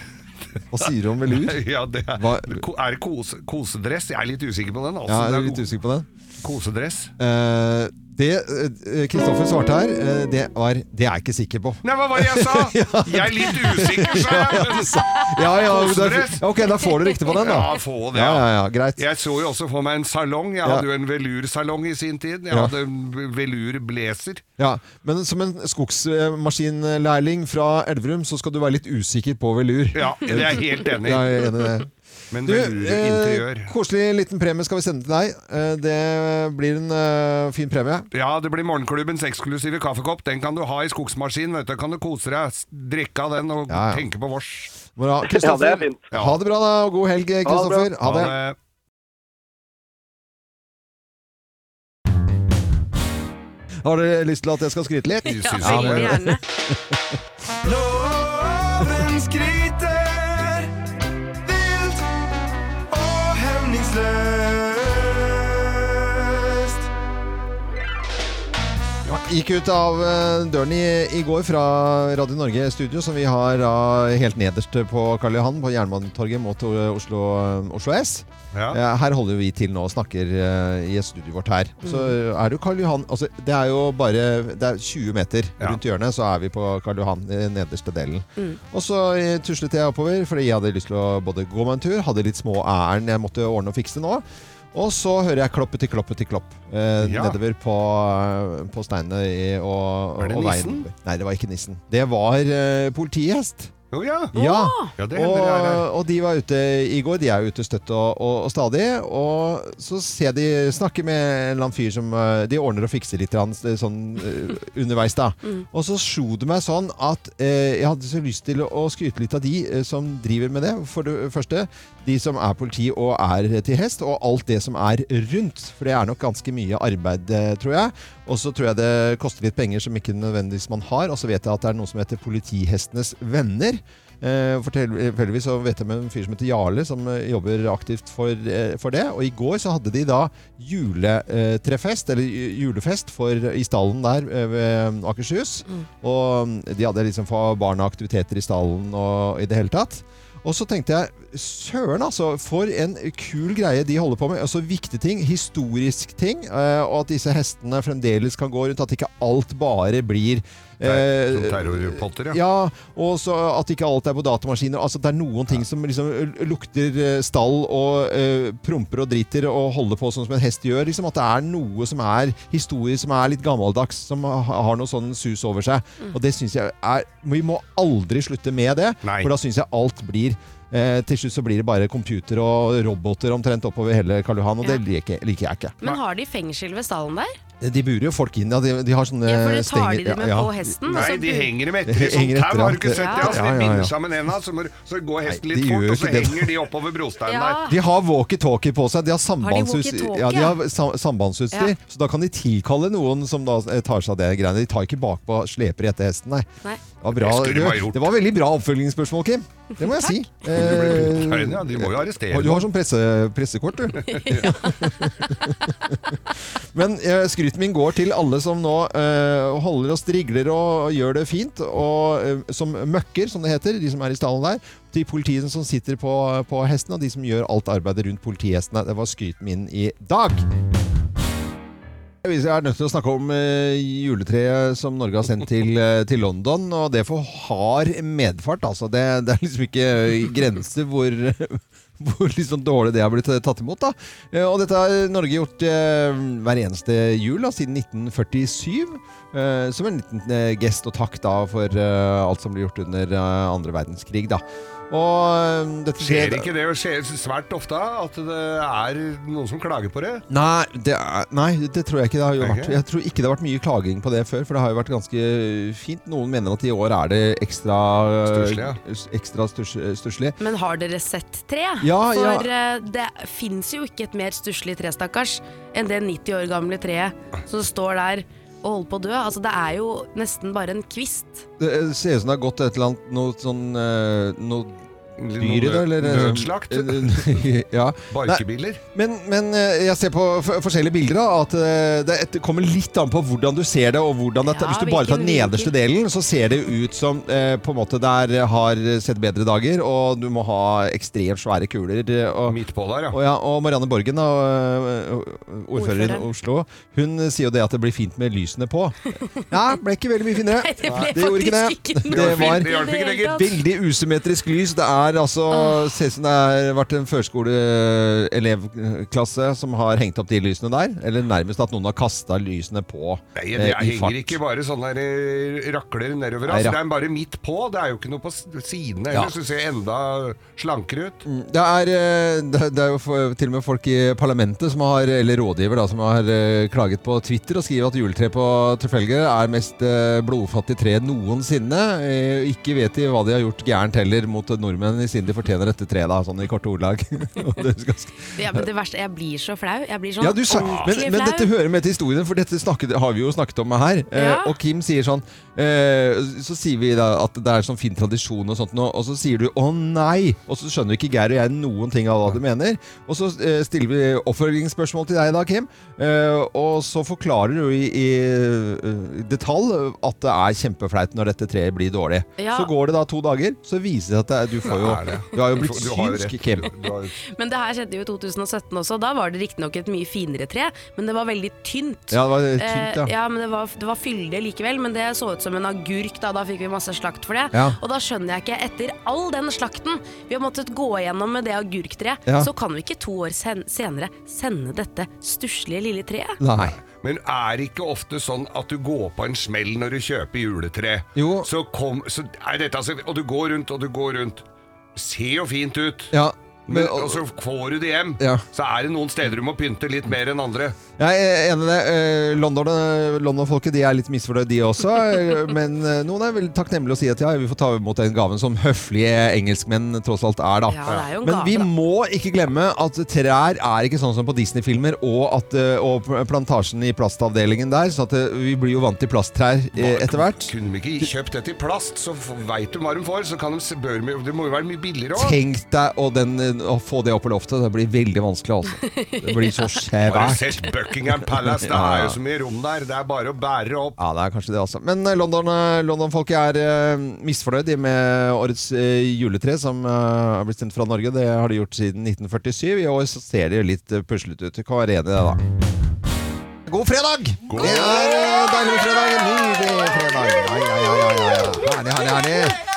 A: Hva sier du om velur?
B: Ja, det er,
A: Hva-
B: ko- er det kose, kosedress? Jeg er litt usikker på den. Altså.
A: Ja, jeg
B: Det
A: er litt
B: ko-
A: usikker på den.
B: Kosedress?
A: Eh, det eh, Kristoffer svarte her, eh, det var Det er jeg ikke sikker på.
B: Nei, hva var det jeg sa? Jeg er litt usikker, sa
A: Ja, ja,
B: jeg.
A: du sa- ja, ja, da,
B: Kosedress.
A: ja, ok, da får du riktig på den, da.
B: Ja, få det,
A: ja. Ja, ja, greit.
B: Jeg så jo også for meg en salong. Jeg
A: Ja.
B: hadde jo en velursalong i sin tid. Jeg
A: Ja.
B: hadde en velurblazer.
A: Ja, men som en skogsmaskinlærling fra Elverum, så skal du være litt usikker på velur.
B: Ja, det er jeg helt enig i.
A: Ja, jeg er enig i det.
B: Men
A: Du,
B: velurinteriør.
A: eh, koselig liten premie skal vi sende til deg. Eh, det blir en eh, fin premie.
B: Ja, det blir morgenklubbens eksklusive kaffekopp. Den kan du ha i skogsmaskinen. Vet du. Kan du kose deg, s- drikke av den og
A: Ja, ja.
B: tenke på vårs.
A: Bra. Kristoffer,
B: Ja, det er fint.
A: ha det bra da, og god helg,
B: det bra.
A: Kristoffer. Ha det.
B: Ha det.
A: Har dere lyst til at jeg skal skryte litt?
Q: Ja, veldig gjerne. Loven skryter vilt og hemningsløst.
A: Gikk ut av eh, døren i, i går fra Radio Norge studio, som vi har da helt nederst på Karl Johan, på Jernbanetorget mot eh, Oslo, Oslo S.
B: Ja. Mm.
A: Eh, Her holder vi til nå og snakker eh, i studioet vårt her. Så er det jo Karl Johan altså, Det er jo bare det er 20 meter rundt hjørnet, så er vi på Karl Johan, eh, nederste delen.
B: Mm.
A: Og så eh, tuslet jeg oppover, fordi jeg hadde lyst til å både gå meg en tur, hadde litt små ærend jeg måtte ordne og fikse nå. Og så hører jeg klopp til klopp til klopp eh,
B: Ja.
A: nedover på, på steinene i, og,
B: Er det
A: og veien.
B: nissen?
A: Nei, det var ikke nissen. Det var eh, politihest.
B: Å ja.
A: Ja,
B: ja, det
A: og,
B: hender jeg er her.
A: og de var ute i går. De er jo ute støtt og, og, og stadig. Og så ser de snakker med en eller annen fyr som eh, De ordner og fikser litt grann, eh, sånn eh, underveis, da.
Q: Mm.
A: Og så slo det meg sånn at eh, jeg hadde så lyst til å skryte litt av de eh, som driver med det. For det første, de som er politi og er til hest, og alt det som er rundt. For det er nok ganske mye arbeid, eh, tror jeg. Og så tror jeg det koster litt penger som ikke nødvendigvis man har. Og så vet jeg at det er noe som heter Politihestenes venner. Eh, Fortelligvis så vet jeg med en fyr som heter Jarle, som eh, jobber aktivt for, eh, for det. Og i går så hadde de da juletrefest, eller ju- julefest, for, i stallen der eh, ved Akershus. Og mm, de hadde liksom for barna aktiviteter i stallen og i det hele tatt. Og så tenkte jeg Søren, altså. For en kul greie de holder på med. Altså Viktige ting. Historisk ting. eh, Og at disse hestene fremdeles kan gå rundt. At ikke alt bare blir eh,
B: Som terrorpotter, ja.
A: ja, og så at ikke alt er på datamaskiner. Altså Det er noen ting som liksom l- lukter eh, stall og eh, promper og driter og holder på sånn som en hest gjør. Liksom At det er noe som er historie som er litt gammeldags, som ha- har noe sånn sus over seg.
B: Mm.
A: Og det syns jeg er Vi må aldri slutte med det, for da syns jeg alt blir eh, til slutt så blir det bare computer og roboter omtrent oppover hele Karl Johan, og det liker, liker jeg ikke.
C: Men har de fengsel ved stallen der?
A: De burer jo folk inn, ja. De, de har sånne
C: Ja, for det tar de
A: Eh, stenger-
C: dem med på hesten, og
B: Nei,
C: så
B: de
C: bur-
B: henger dem
A: De
B: etter i sånn
A: henger etter,
B: tau. Har du
A: ja.
B: ikke sett det? Altså,
A: Ja, ja,
B: de
A: ja.
B: binder sammen enda, så, må- så går hesten
A: de
B: litt
A: gjør
B: fort,
A: jo
B: og så
A: ikke det.
B: henger de oppover brosteinen der.
A: De har walkietalkie på seg. De har sambandsutstyr.
B: walkie-talkie?
A: Ja, de har sam- sambandsutstyr
B: Ja.
A: Så da kan de tilkalle noen som da eh, tar seg av det greiene. De tar ikke bakpå og sleper etter hesten, nei.
C: Nei.
A: Det var, bra.
B: Det skulle de ha
A: Du,
B: gjort.
A: det var veldig bra oppfølgingsspørsmål, Kim. Det må jeg si. Eh,
B: Du ble litt- Ja, de må jo arrestere
A: Du har sånn presse, pressekort, du. Men eh, skryten min går til alle som nå eh, holder og strigler og, og gjør det fint. Og eh, som møkker, som det heter, de som er i stallen der. Til politiet som sitter på, på hesten, og de som gjør alt arbeidet rundt politihestene. Det var skryten min i dag. Vi er nødt til å snakke om eh, juletreet som Norge har sendt til, eh, til London, og det får hard medfart. Altså. Det, det er liksom ikke eh, grenser hvor, hvor liksom dårlig det har blitt eh, tatt imot. Da. Eh, og dette har Norge gjort eh, hver eneste jul da, siden 1947, eh, som en liten eh, gest og takk da, for eh, alt som ble gjort under eh, andre verdenskrig. Da. Og, eh, dette
B: Skjer ikke det? og Skjer svært ofte at det er noen som klager på det?
A: Nei det, er, nei, det tror jeg ikke det har jo
B: Er det
A: vært.
B: ikke?
A: Jeg tror ikke det har vært mye klaging på det før, for det har jo vært ganske eh, fint. Noen mener at i år er det ekstra eh,
B: Stusslig, ja.
A: s- ekstra stus- stusslig.
C: Men har dere sett tre?
A: Ja, ja.
C: For eh, det fins jo ikke et mer stusslig tre, stakkars, enn det 90 år gamle treet som står der og holder på å dø. Altså, det er jo nesten bare en kvist.
A: Det eh, ser ut som det har gått et eller annet noe sånn eh, noe dyr i det,
B: Noe
A: eller eh,
B: nødslakt?
A: ja.
B: Barkebiller?
A: Nei, Men, men eh, jeg ser på f- forskjellige bilder da, at eh, det et- kommer litt an på hvordan du ser det. og hvordan det,
B: Ja,
A: Hvis du bare tar den
B: hvilken
A: nederste delen, så ser det ut som eh, på en måte der har sett bedre dager, og du må ha ekstremt svære kuler. eh, Og,
B: Midt på der, ja.
A: Og, og Marianne Borgen, da, eh, ordfører i
B: Ordfører.
A: Oslo, hun sier jo det at det blir fint med lysene på. Ja, ble ikke veldig mye finere.
Q: Nei, det ble
A: gjorde
Q: faktisk
A: ikke
Q: ikke
A: det.
Q: noe
A: Det
Q: fint.
A: var
Q: Det hjalp ikke det, gitt.
A: veldig usymmetrisk lys. Det er altså Ser ut som det har vært en førskoleelevklasse som har hengt opp de lysene der. Eller nærmest at noen har kasta lysene på
B: Nei,
A: eh,
B: det
A: i
B: henger
A: fart.
B: ikke bare sånne der rakler nedover.
A: Nei,
B: Altså,
A: rak-
B: det er bare midt på. Det er jo ikke noe på s- sidene
A: Ja.
B: ellers. Du ser enda slankere ut.
A: Det er, eh, det det er jo for- til og med folk i parlamentet, som har, eller rådgiver, da, som har eh, klaget på Twitter og skriver at juletreet på Trafalgar er mest eh, blodfattig tre noensinne. Eh, Ikke vet de hva de har gjort gærent heller mot nordmenn, siden de fortjener dette treet, da, sånn i korte ordlag. Og det skal-
C: Ja, men det verste, jeg blir så flau. Jeg blir sånn
A: ja, du sa, men,
C: ordentlig
A: men
C: flau.
A: dette hører med til historien, for dette snakket, har vi jo snakket om her. Eh,
C: Ja.
A: og Kim sier sånn eh, Så sier vi da at det er sånn fin tradisjon og sånt, nå, og så sier du 'å nei', og så skjønner ikke Geir og jeg noen ting av hva du mener. Og så eh, stiller vi oppfølgingsspørsmål til deg da, Kim, eh, og så forklarer du i, i eh, detalj at det er kjempeflaut når dette treet blir dårlig.
C: Ja.
A: Så går det da to dager, så viser det seg at det, er- du får jo
B: Nei, det er det.
A: Du har jo
B: Du
A: blitt
B: får- du har jo
A: synsk,
B: rett.
A: Kim.
C: Men det her skjedde jo i 2017 også. Da var det riktignok et mye finere tre, men det var veldig tynt.
A: Ja, det var tynt, ja.
C: Eh, men det var, det var fyldig likevel, men det så ut som en agurk da. Da fikk vi masse slakt for det.
A: Ja.
C: Og da skjønner jeg ikke, etter all den slakten vi har måttet gå igjennom med det agurktreet,
B: Ja.
C: så kan vi ikke to år sen senere sende dette stusslige lille treet.
B: Men er det ikke ofte sånn at du går på en smell når du kjøper juletre? Så kom, så er dette, altså, og du går rundt, og du går rundt. Ser jo fint ut.
A: Ja,
B: men, og så får du det hjem. Så er det noen steder du må pynte litt mer enn andre.
A: Jeg er enig i det. Eh, London, eh, London-folket de er litt misfornøyd, de også. eh, Men eh, noen er veldig takknemlige og sier at ja, vi får ta imot den gaven som høflige engelskmenn tross alt er, da.
C: Ja, det er jo en
A: Men
C: gave,
A: vi
C: da.
A: må ikke glemme at trær er ikke sånn som på Disney-filmer, og, at, eh, og plantasjen i plastavdelingen der. Så at eh, vi blir jo vant til plasttrær eh, etter hvert.
B: Kunne vi ikke kjøpt dette i plast, så veit du hva de får. Så kan de, s- bør, de- det må jo være mye billigere òg.
A: Tenk deg og den eh, å få det opp på loftet, det blir veldig vanskelig, altså. Det blir så
B: Har
A: svært.
B: du sett Buckingham Palace? Det
A: Ja,
B: er
A: ja.
B: jo så mye rom der. Det er bare å bære opp.
A: Ja, det er kanskje det, altså. Men eh, London, eh, London-folket er eh, misfornøyd de med årets eh, juletre, som eh, er blitt sendt fra Norge. Det har de gjort siden 1947. I år så ser de litt eh, puslete ut. Du kan være enig i det, da. God fredag! God Det er eh, deilig med fredag. Nydelig fredag. Ja, ja, ja, ja, ja, ja. Herlig, herlig, herlig.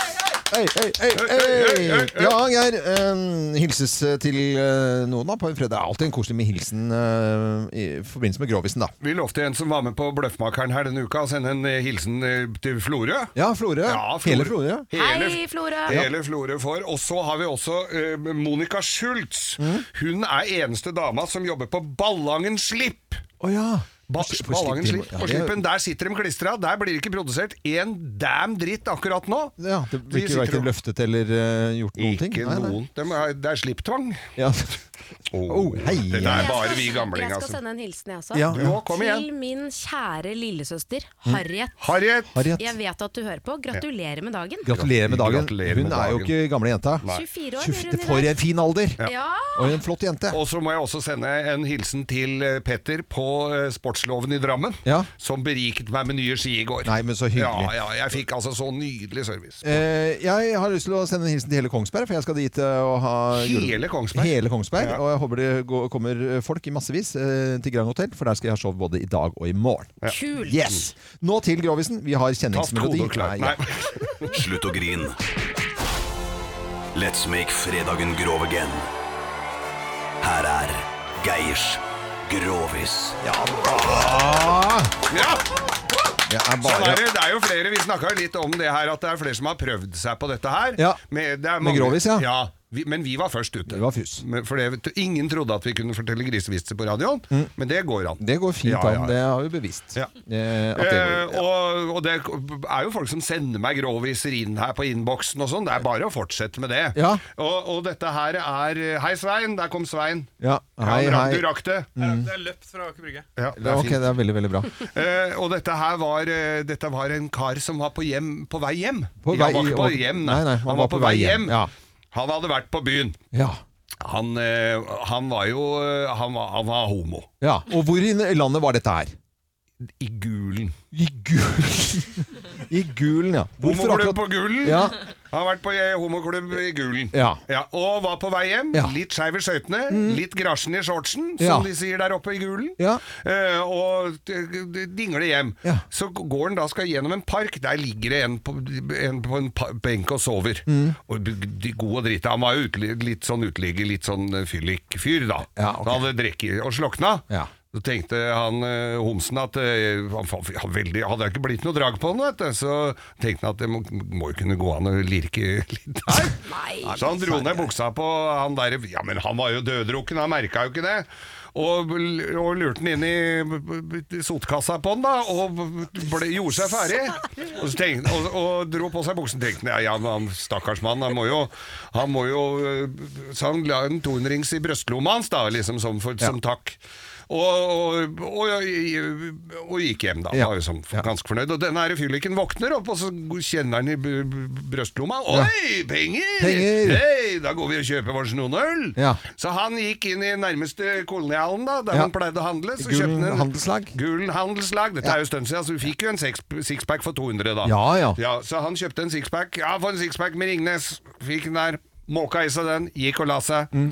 A: Hei, hei, hei, hei! Ja, Geir. eh, hilses eh, til eh, noen da på en fredag. Det er alltid en koselig med hilsen eh, i forbindelse med Grovisen, da.
B: Vi lovte en som var med på Bløffmakeren her denne uka, å sende en eh, hilsen eh, til Florø.
A: Ja, Florø. Hele Florø.
B: Hele-
C: Hei, Florø.
B: Hele Florø får. Og så har vi også eh, Monica Schultz.
A: Mm.
B: Hun er eneste dama som jobber på Ballangen Slipp.
A: Å ja.
B: Ba
A: På slipp-
B: Ballangen
A: de må-
B: Slipp.
A: ja,
B: På
A: det er-
B: Slippen, der sitter de klistra. Der blir det ikke produsert en damn dritt akkurat nå.
A: Ja, det
B: De
A: blir ikke
B: sitter
A: verken
B: og-
A: løftet eller eh, gjort noen ting.
B: Ikke noen. De er, det er slipptvang.
A: Ja.
B: Oh,
A: hei,
B: det
A: hei.
B: er bare vi
C: Jeg
B: gamlinger.
C: skal
B: Altså.
C: sende en hilsen, jeg også.
B: Ja, Du ja. også, kom
C: Til
B: igjen.
C: min kjære lillesøster
A: Mm.
C: Harriet.
B: Harriet.
A: Harriet.
C: Jeg vet at du hører på. Gratulerer med dagen.
A: Gratulerer med dagen.
B: Gratulerer med
A: Hun er jo
B: dagen.
A: ikke gamle jenta.
B: Nei.
C: 24 år blir
A: 24
C: hun i
A: For
C: dag.
A: en fin alder!
C: Ja.
A: Og en flott jente.
B: Og så må jeg også sende en hilsen til eh, Petter på eh, Sportsloven i Drammen,
A: Ja.
B: som beriket meg med nye ski i går.
A: Nei, men så hyggelig.
B: Ja, ja, jeg fikk altså så nydelig service.
A: Eh, jeg har lyst til å sende en hilsen til hele Kongsberg, for jeg skal dit eh, og ha jule-
B: Hele Kongsberg?
A: Hele Kongsberg,
B: Ja.
A: Og jeg håper det går, kommer folk i massevis eh, til Grand Hotel, for der skal jeg ha show både i dag og i morgen.
B: Ja.
C: Kult.
A: Yes! Nå til Grovisen. Vi har
I: Tatt
A: kjenningsmelodi.
I: kode og klart.
A: Nei, ja.
I: Nei. Slutt å grine. Let's make fredagen grov again. Her er Geirs Grovis.
A: Ah!
B: Ja!
A: Det er
B: Sånn
A: bare
B: er det. det er jo flere, Vi snakka litt om det her, at det er flere som har prøvd seg på dette her.
A: Ja.
B: Med, det er
A: Med
B: mange-
A: grovis, ja.
B: vi, men vi var først ute.
A: Det var fus.
B: Men- For det, ingen trodde at vi kunne fortelle grisevitser på radioen, men det går an.
A: Mm. Det går fint
B: Ja,
A: an.
B: ja, ja.
A: Det har vi bevist. Eh, at det går.
B: Eh, og, og det er jo folk som sender meg groviser inn her på innboksen og sånn. Det er bare å fortsette med det.
A: Ja.
B: Og, og dette her er Hei, Svein! Der kom Svein.
A: Ja, hei,
B: han rakk-
A: hei.
B: Du rakk det.
A: Mm.
F: Det er løpt fra Aker Brygge.
B: Ja, det er
A: Ok,
B: fint.
A: det er veldig, veldig bra.
B: Eh, og dette her var, eh, dette var en kar som var på, hjem, på vei hjem.
A: På
B: Ja,
A: vei-
B: han var ikke på
A: og-
B: hjem,
A: nei, nei, han var på vei hjem, ja.
B: Han hadde vært på byen.
A: Ja.
B: Han, eh, han var jo eh, han var, han var homo.
A: Ja, og hvor i landet var dette her?
B: I Gulen.
A: I Gulen, I gulen ja. Hvorfor
B: Homoklubb
A: akkurat-
B: på Gulen.
A: Ja.
B: Han har vært på eh, homoklubb i Gulen.
A: Ja.
B: og var på vei hjem.
A: Ja. Mm.
B: Litt skeiv i skøytene, litt grasjen i shortsen,
A: Ja.
B: som de sier der oppe i Gulen. Eh, og eh, dingle hjem. Så går han da skal gjennom en park. Der ligger det en på en, på en pa- benk og sover. Og b- de gode drita. Han var jo uteli- litt sånn uteligger, litt sånn eh, fyllik fyr, da. Han hadde drukket og slokna. Så tenkte han eh, homsen at eh, han, fa- han veldig, hadde ikke blitt noe drag på han, vet du. Så tenkte han at det må, må jo kunne gå an å lirke litt her. så han dro ned buksa på han der Ja, men han var jo døddrukken, han merka jo ikke det. Og, og lurte han inn i sotkassa på han, da, og ble, gjorde seg ferdig. Og, så tenkte, og, og dro på seg buksen. Tenkte han ja, ja, men han stakkars mann, han må jo, han må jo øh, Så han la en 200-rings i brystlomma hans, da, liksom som, for, som takk. Og, og, og, og gikk hjem, da.
A: Ja.
B: Var jo sånn ganske fornøyd. Og denne her fylliken våkner opp, og så kjenner han i b- b- brystlomma Oi, penger!
A: Penger!
B: Hei, da går vi og kjøper oss noen øl!
A: Ja.
B: Så han gikk inn i nærmeste kolonialen, da, der
A: Ja.
B: han pleide å handle. Så
A: Gulen
B: kjøpte han
A: handelslag?
B: Gulen handelslag. Dette er jo en stund siden, så vi fikk jo en seks- sixpack for 200, da.
A: Ja, ja.
B: Så han kjøpte en sixpack. Ja, for en sixpack med Ringnes. Fikk den der. Måka i seg den, gikk og la seg.
A: Mm.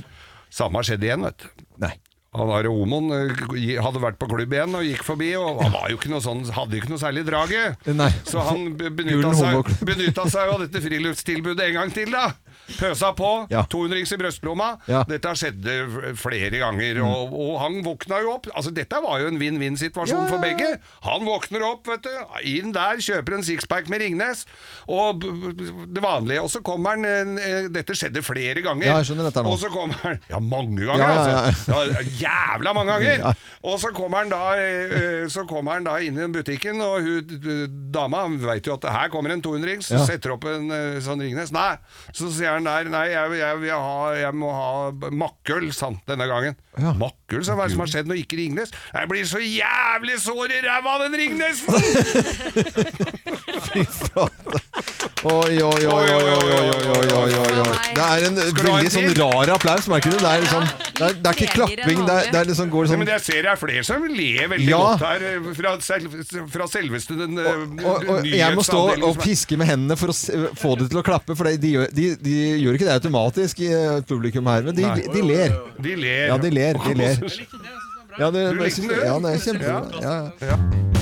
B: Samme skjedde igjen, vet du.
A: Nei.
B: Han der homoen eh, hadde vært på klubb igjen og gikk forbi, og han var jo ikke noe sånn, hadde jo ikke noe særlig draget.
A: Nei.
B: Så han be- benytta
A: Gulen
B: seg,
A: homoklubb.
B: benytta seg av dette friluftstilbudet en gang til, da. Pøsa på.
A: Ja.
B: 200 rings i brystlomma.
A: Ja. Mm.
B: Dette skjedde f- flere ganger, og, og han våkna jo opp. Altså, dette var jo en vinn-vinn-situasjon for begge. Han våkner opp, vet du. Inn der, kjøper en sixpack med Ringnes, og b- b- det vanlige. Og så kommer han en- eh, Dette skjedde flere ganger.
A: Ja, jeg skjønner dette nå.
B: Og så kommer han Ja, mange ganger,
A: Ja, ja, ja.
B: altså. Ja, jævla mange ganger! Og så kommer han da, eh, så kommer han da inn i butikken, og hun, eh, dama veit jo at her kommer en 200-rings, så
A: Ja.
B: setter opp en eh, sånn Ringnes. Nei! Så sier sier han der Nei, jeg, jeg, vil ha, jeg må ha makkøl, sant, denne gangen. Makkøl, sa han, hva er det som har skjedd når ikke Ringnes? Jeg blir så jævlig sår i ræva av den Ringnesen!
A: Fy flate. Oi, oi, oi, oi, oi, oi, oi, oi, oi, oi, oi. Det er en veldig sånn rar applaus, merker du? Det er, liksom, det er, det er ikke klapping, det er, det er liksom går
B: Nei,
A: sånn
B: men jeg ser det er flere som ler veldig
A: Ja.
B: godt her, eh, fra, sel- fra selveste den eh,
A: og, og jeg må stå
B: nyhetsavdelingen
A: og
B: som er-
A: piske med hendene for å s- få det til å klappe, for det- de gjør, de, de gjør ikke det automatisk i eh, publikum her, men de,
B: Nei.
A: de ler.
B: De ler.
A: Ja, de ler. De ler.
B: Jeg likte det, jeg synes det var bra.
A: Ja, det,
B: Du
A: jeg
B: likte
A: synes-
B: det?
A: ja, det er kjempebra. Ja, ja.